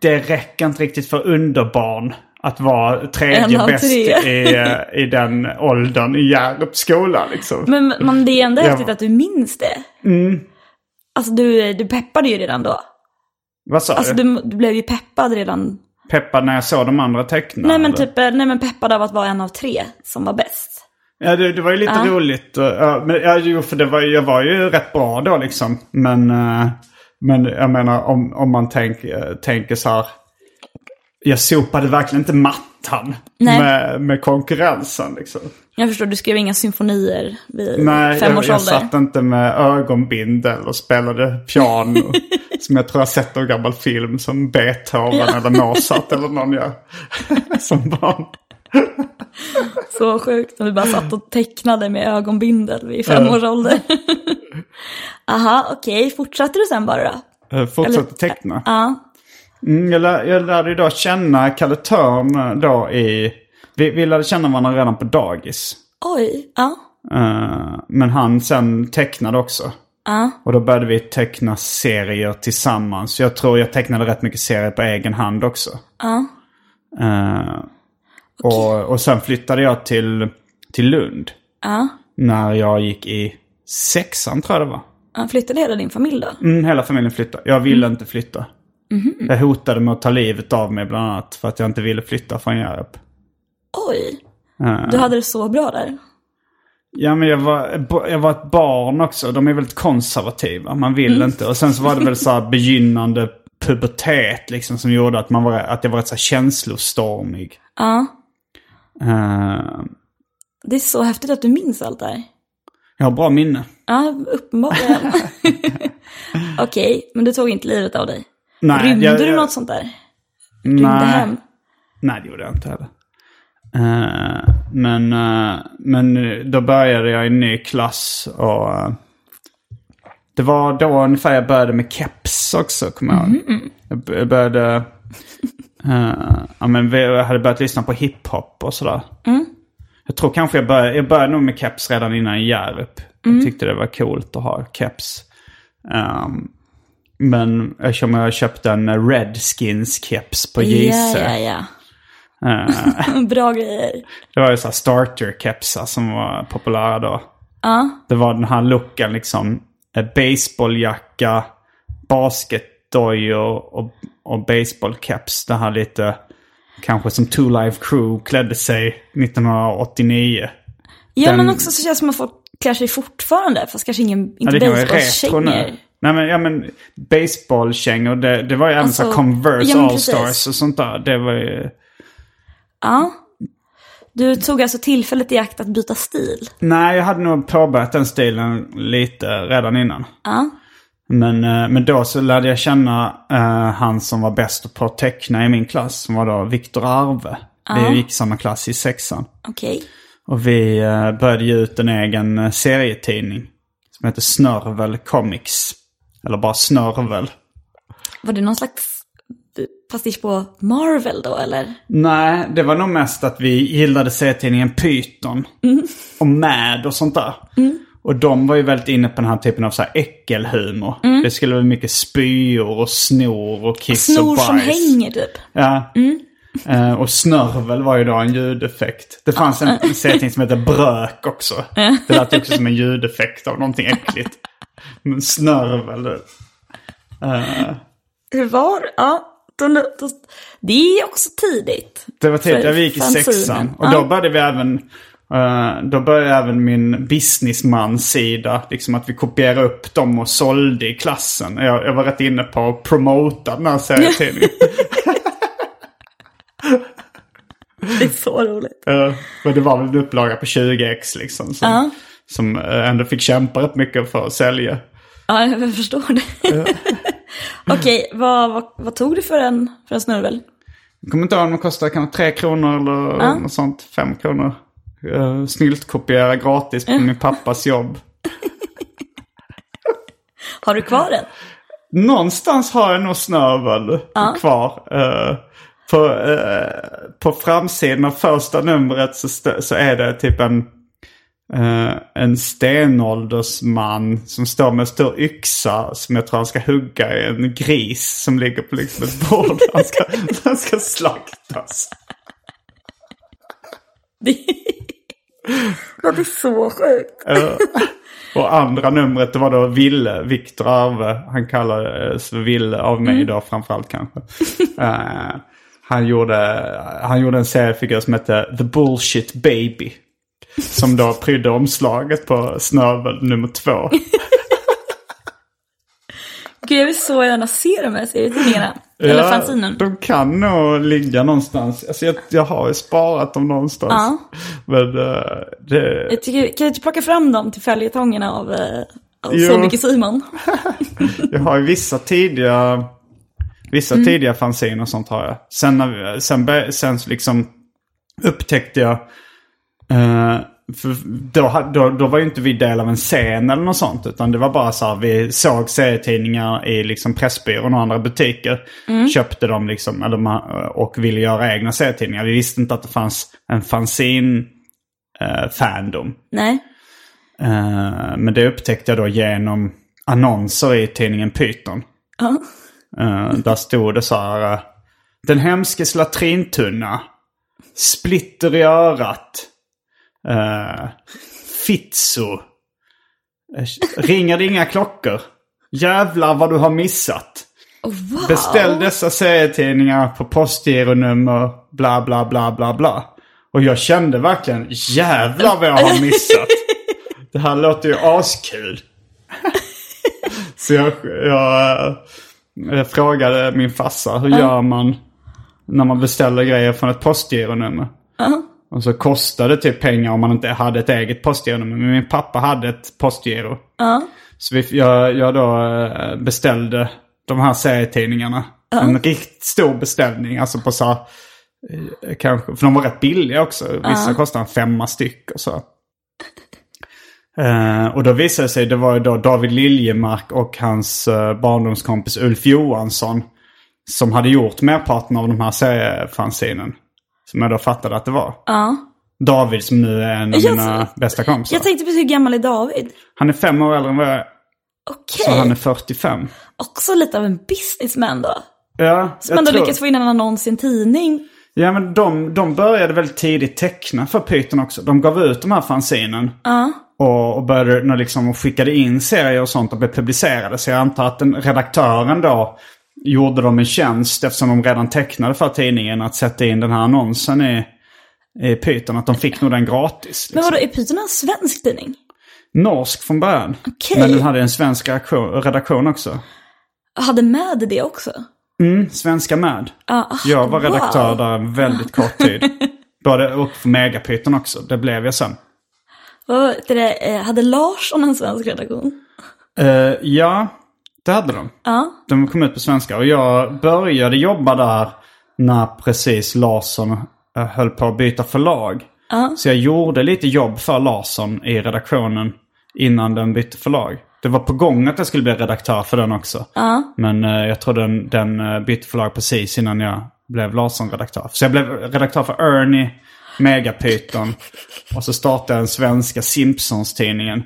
det räcker inte riktigt för underbarn att vara En tredje av bäst tre. i, eh, i den åldern i Hjärups skola. Liksom. Men, men det är ändå Jag- häftigt att du minns det. Mm. Alltså du, du peppade ju redan då. Vad sa Alltså du? du, du blev ju peppad redan. Peppad när jag såg de andra teckna? Nej men, eller? typ, eh, nej men peppad av att vara en av tre som var bäst. Ja, det, det var ju lite roligt. eh, Ja, men, ja, jo, för det var, jag var ju rätt bra då liksom. Men, eh, men jag menar om, om man tänk, eh, tänker så här. Jag sopade verkligen inte mattan Nej. med, med konkurrensen. Liksom. Jag förstår, du skrev inga symfonier vid Nej, fem jag, års jag ålder. satt inte med ögonbindel och spelade piano. som jag tror jag sett någon gammal film som Beethoven eller Mozart eller någon gör. som barn. Så sjukt om du bara satt och tecknade med ögonbindel vid fem års ålder. Aha, okej, fortsatte du sen bara då? Eh, Fortsatte teckna. Mm, jag, lär, jag lärde ju då känna Kalle Törn eh, då i... Vi, vi lärde känna varandra redan på dagis. Oj, ja. Eh, men han sen tecknade också. Och då började vi teckna serier tillsammans. Jag tror jag tecknade rätt mycket serier på egen hand också. Eh, och, och sen flyttade jag till, till Lund. När jag gick i sexan tror jag det var. Han flyttade hela din familj då? Mm, hela familjen flyttade. Jag ville inte flytta. Jag hotade med att ta livet av mig bland annat för att jag inte ville flytta från Hjärup. Oj, du hade det så bra där. Ja, men jag var, jag var ett barn också. De är väldigt konservativa. Man vill Mm. inte. Och sen så var det väl så här begynnande pubertet liksom som gjorde att, man var, att jag var rätt så här känslostormig. Ja, Eh, det är så häftigt att du minns allt det här. jag har bra minne. Ja, uppenbarligen. okej, men du tog inte livet av dig. Nej, Rymde jag, du jag- något sånt där? Rymde nej. hem? Nej, det gjorde jag inte heller. Eh, men, eh, men då började jag i en ny klass och eh, det var då ungefär jag började med keps också, kommer jag ihåg. Mm-hmm. Jag b- Jag började... eh, ja, men vi- jag hade börjat lyssna på hiphop och sådär. Mm. Jag tror kanske jag började, jag började nog med keps redan innan Hjärup. Mm. Jag tyckte det var coolt att ha keps. Ehm, men eftersom jag köpte en Redskins-keps på JC. Ja, ja, ja. bra grejer. Det var ju så här starter-kepsar som var populära då. Det var den här looken liksom. eh, Baseballjacka, basketdojor och, och baseballcaps. Det här lite kanske som Two Live Crew klädde sig 1989. Ja, Den- men också så känns det som att folk klär sig fortfarande, fast kanske ingen, Ja, inte det kan vara retro basebollkängor. nu. Nej men, ja, men baseballkängor, det, det var ju även Alltså, så här Converse ja, men precis. Allstars och sånt där. Det var ju... Ja. Du tog alltså tillfället i akt att byta stil. Nej, jag hade nog påbörjat den stilen lite redan innan. Ja. Men, eh, men då så lärde jag känna eh, han som var bäst på att teckna i min klass, som var då Viktor Arve. Vi gick i samma klass i sexan. Okej. Och vi eh, började ge ut en egen eh, serietidning som heter Snörvel Comics. Eller bara Snörvel. Var det någon slags eh, pastisch på Marvel då eller? Nej, det var nog mest att vi gillade serietidningen Python. Och Mad och sånt där. Och de var ju väldigt inne på den här typen av så här äckelhumor. Mm. Det skulle vara mycket spyor och snor och kiss och Snor bajs. som hänger typ. Ja. Eh, och snörvel var ju då en ljudeffekt. Det fanns en en serietidning som hette Brök också. Det lät ju också som en ljudeffekt av någonting äckligt. Men snörvel. Hur var Ja. De, de, det är också tidigt. Det var tidigt, För jag gick i fanzinen. sexan. Och Ja. då började vi även... eh, då började även min businessman-sida, liksom att vi kopierade upp dem och sålde i klassen. Jag, jag var rätt inne på att promota den här serietidningen. Det är så roligt. Eh, Men det var väl en upplaga på 20 ex liksom. Som, som eh, ändå fick kämpa rätt mycket för att sälja. Ja, jag förstår det. Okej, vad, vad, vad tog du för en, för en snurvel? Jag kommer inte ihåg om de kostade kanske 3 kronor eller något sånt. 5 kronor. Uh, Snyltkopiera gratis på min pappas jobb. Har du kvar den? Någonstans har jag nog snövel kvar. Eh, på, eh, på framsidan av första numret så, stö- så är det typ en, eh, en stenåldersman som står med en stor yxa som jag tror han ska hugga i en gris som ligger på liksom ett bord. Han ska, han ska slaktas. Det Ja, det är så sjukt. Och andra numret det var då Ville, Viktor Arve. Han kallades för Ville av mig Mm. då framförallt kanske. Eh, han, gjorde, han gjorde en seriefigur som hette The Bullshit Baby. Som då prydde omslaget på Snövel nummer två. Gud, jag vill så gärna se de här serietidningarna. Eller Ja, fanzinen. De kan nog ligga någonstans. Alltså jag, jag har ju sparat dem någonstans. Ja. Men eh, det... Jag tycker, kan du inte plocka fram dem till följetongerna av, eh, av Jo. Så mycket Simon? Jag har ju vissa tidiga, vissa tidiga fanzine och sånt har jag. Sen, när vi- sen, bör- sen så liksom upptäckte jag, eh, för då, ha- då, då var ju inte vi del av en scen eller något sånt. Utan det var bara så här, vi såg serietidningar i liksom Pressbyrån och andra butiker. Köpte dem liksom, eller, ma- och ville göra egna serietidningar. Vi visste inte att det fanns en eh, fanzine-fandom. Nej. Eh, Men det upptäckte jag då genom annonser i tidningen Python. Ja. Eh, Där stod det så här. eh, Den hemskes latrintunna. Splitter i örat. eh, Fitzo. eh, Ringer det inga klockor? Jävlar vad du har missat. Oh, Wow. Beställ dessa serietidningar på postgironummer bla bla bla bla bla. Och jag kände verkligen jävlar vad jag har missat. Det här låter ju askul. Så jag, jag, eh, jag frågade min farsa hur gör man när man beställer grejer från ett postgironummer. Och så kostade det typ pengar om man inte hade ett eget postgironummer. Men min pappa hade ett postgiro. Så vi, jag, jag då eh, beställde de här serietidningarna. En riktigt stor beställning. Alltså på så här, eh, kanske, för de var rätt billiga också. Vissa kostade en femma styck och så. Eh, och då visade det sig, det var ju då David Liljemark och hans eh, barndomskompis Ulf Johansson. Som hade gjort merparten av de här seriefanzinen. Som jag då fattade att det var. David som nu är en av Jag- mina bästa kompisar. Jag tänkte precis hur gammal är David? Han är fem år äldre än vad jag är. Okej. Så han är 45. Också lite av en businessman då. Ja, Som jag ändå tror- lyckats få in en annons i en tidning. Ja, men de, de började väldigt tidigt teckna för Python också. De gav ut de här fanzinen. Och, och började när liksom, och skickade in serier och sånt och blev publicerade. Så jag antar att den, redaktören då gjorde dem en tjänst eftersom de redan tecknade för tidningen att sätta in den här annonsen i, i Python. Att de fick nog den gratis. Men Liksom. vadå, är Python en svensk tidning? norsk från början. Okej. Men den hade en svensk reaktion- redaktion också. Jag hade med det också. Mm, svenska med. jag var redaktör wow. där en väldigt kort tid. Både och för Megapyton också. Det blev jag sen. Vad heter det? Eh, Hade Larsson en svensk redaktion? Eh, ja, det hade de. De kom ut på svenska. Och jag började jobba där när precis Larsson eh, höll på att byta förlag. Så jag gjorde lite jobb för Larsson i redaktionen innan den bytte förlag. Det var på gång att jag skulle bli redaktör för den också. Men eh, jag tror den, den eh, bytte förlag precis innan jag blev Larsson-redaktör. Så jag blev redaktör för Ernie, Megapyton och så startade jag den svenska Simpsons-tidningen.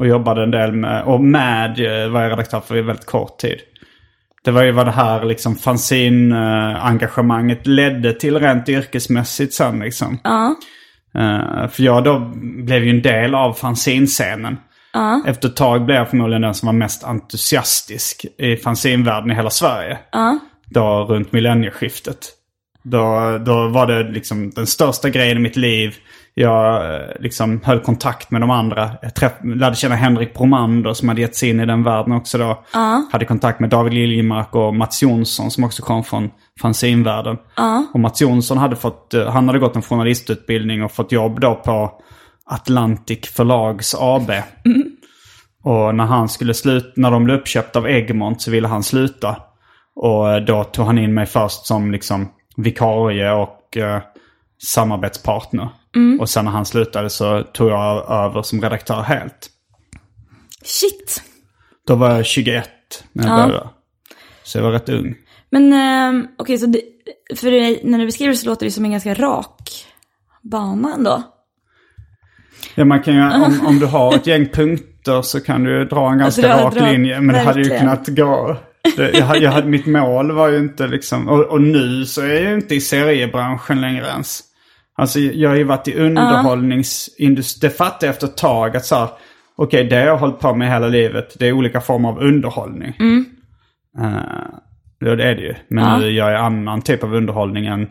Och jobbade en del med, och med eh, var jag redaktör för en väldigt kort tid. Det var ju vad det här liksom fanzine-engagemanget ledde till rent yrkesmässigt sen liksom. Eh, för jag då blev ju en del av fanzinscenen. Efter ett tag blev jag förmodligen den som var mest entusiastisk i fanzinvärlden i hela Sverige. Då runt millennieskiftet. Då, då var det liksom den största grejen i mitt liv. Jag eh, liksom höll kontakt med de andra. Jag träff, lärde känna Henrik Bromander som hade gett sig in i den världen också då. Hade kontakt med David Liljemark och Mats Jonsson som också kom från fanzinvärlden. Och Mats Jonsson hade fått, eh, han hade gått en journalistutbildning och fått jobb då på Atlantic Förlags AB. Och när han skulle sluta, när de blev uppköpta av Egmont så ville han sluta. Och eh, då tog han in mig först som liksom vikarie och eh, samarbetspartner. Och sen när han slutade så tog jag över som redaktör helt. Shit. Då var jag 21 när jag började. Så jag var rätt ung. Men ehm, okej, så det, för dig, när du beskriver så låter det som en ganska rak bana ändå. Ja, man kan ju, om, om du har ett gäng punkter så kan du ju dra en ganska Dra- rak dra- linje. Men det hade ju verkligen. kunnat gå... Det, jag, hade- jag, hade- mitt mål var ju inte liksom... Och, och nu så är jag ju inte i seriebranschen längre ens. Alltså jag har ju varit i underhållningsindustrin. Det fattade jag efter ett tag att så här, okej det har jag hållit på med hela livet. Det är olika former av underhållning. Mm. ja det är det ju. Men nu gör jag annan typ av underhållning än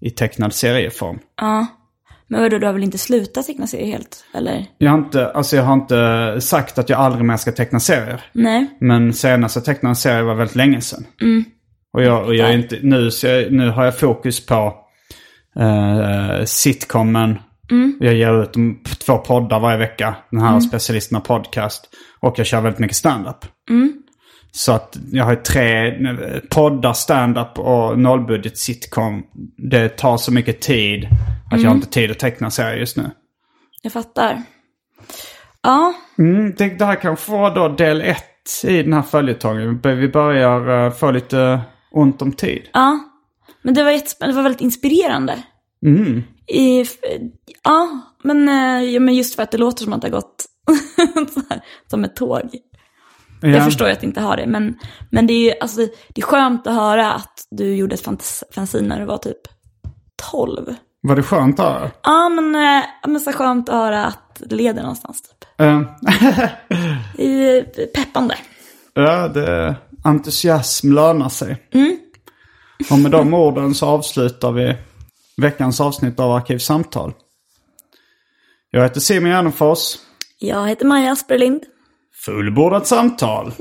i tecknad serieform. Men vadå, du har väl inte slutat teckna serier helt? Eller? Jag har, inte, alltså jag har inte sagt att jag aldrig mer ska teckna serier. Nej. Men senast jag tecknade en serie var väldigt länge sedan. Och jag, och jag är inte, nu, så jag, nu har jag fokus på eh, sitcomen. Jag ger ut m- två poddar varje vecka. Den här specialisterna podcast. Och jag kör väldigt mycket standup. Så att jag har tre eh, poddar, standup och nollbudget sitcom. Det tar så mycket tid att jag har inte tid att teckna serier just nu. Jag fattar. Ja, Mm, det, det här kanske var då del ett i den här följetongen. Vi- Vi börjar eh, få lite ont om tid. men det var, jättespännande, det var väldigt inspirerande. I, f- ja, men, eh, ja, men just för att det låter som att det har gått så här, som ett tåg. Jag förstår ju att det inte har det, men, men det, är ju, alltså, det är skönt att höra att du gjorde ett fantas- fanzine när du var typ 12. Var det skönt där? Ja, men, eh, ja, men så skönt att höra att det leder någonstans typ. Eh, Det är ju peppande. Ja, det, entusiasm lönar sig. Mm. Och med de orden så avslutar vi veckans avsnitt av Arkivsamtal. Jag heter Simon Gärdenfors. Jag heter Maja Asperlind. Fullbordat samtal.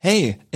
Hey,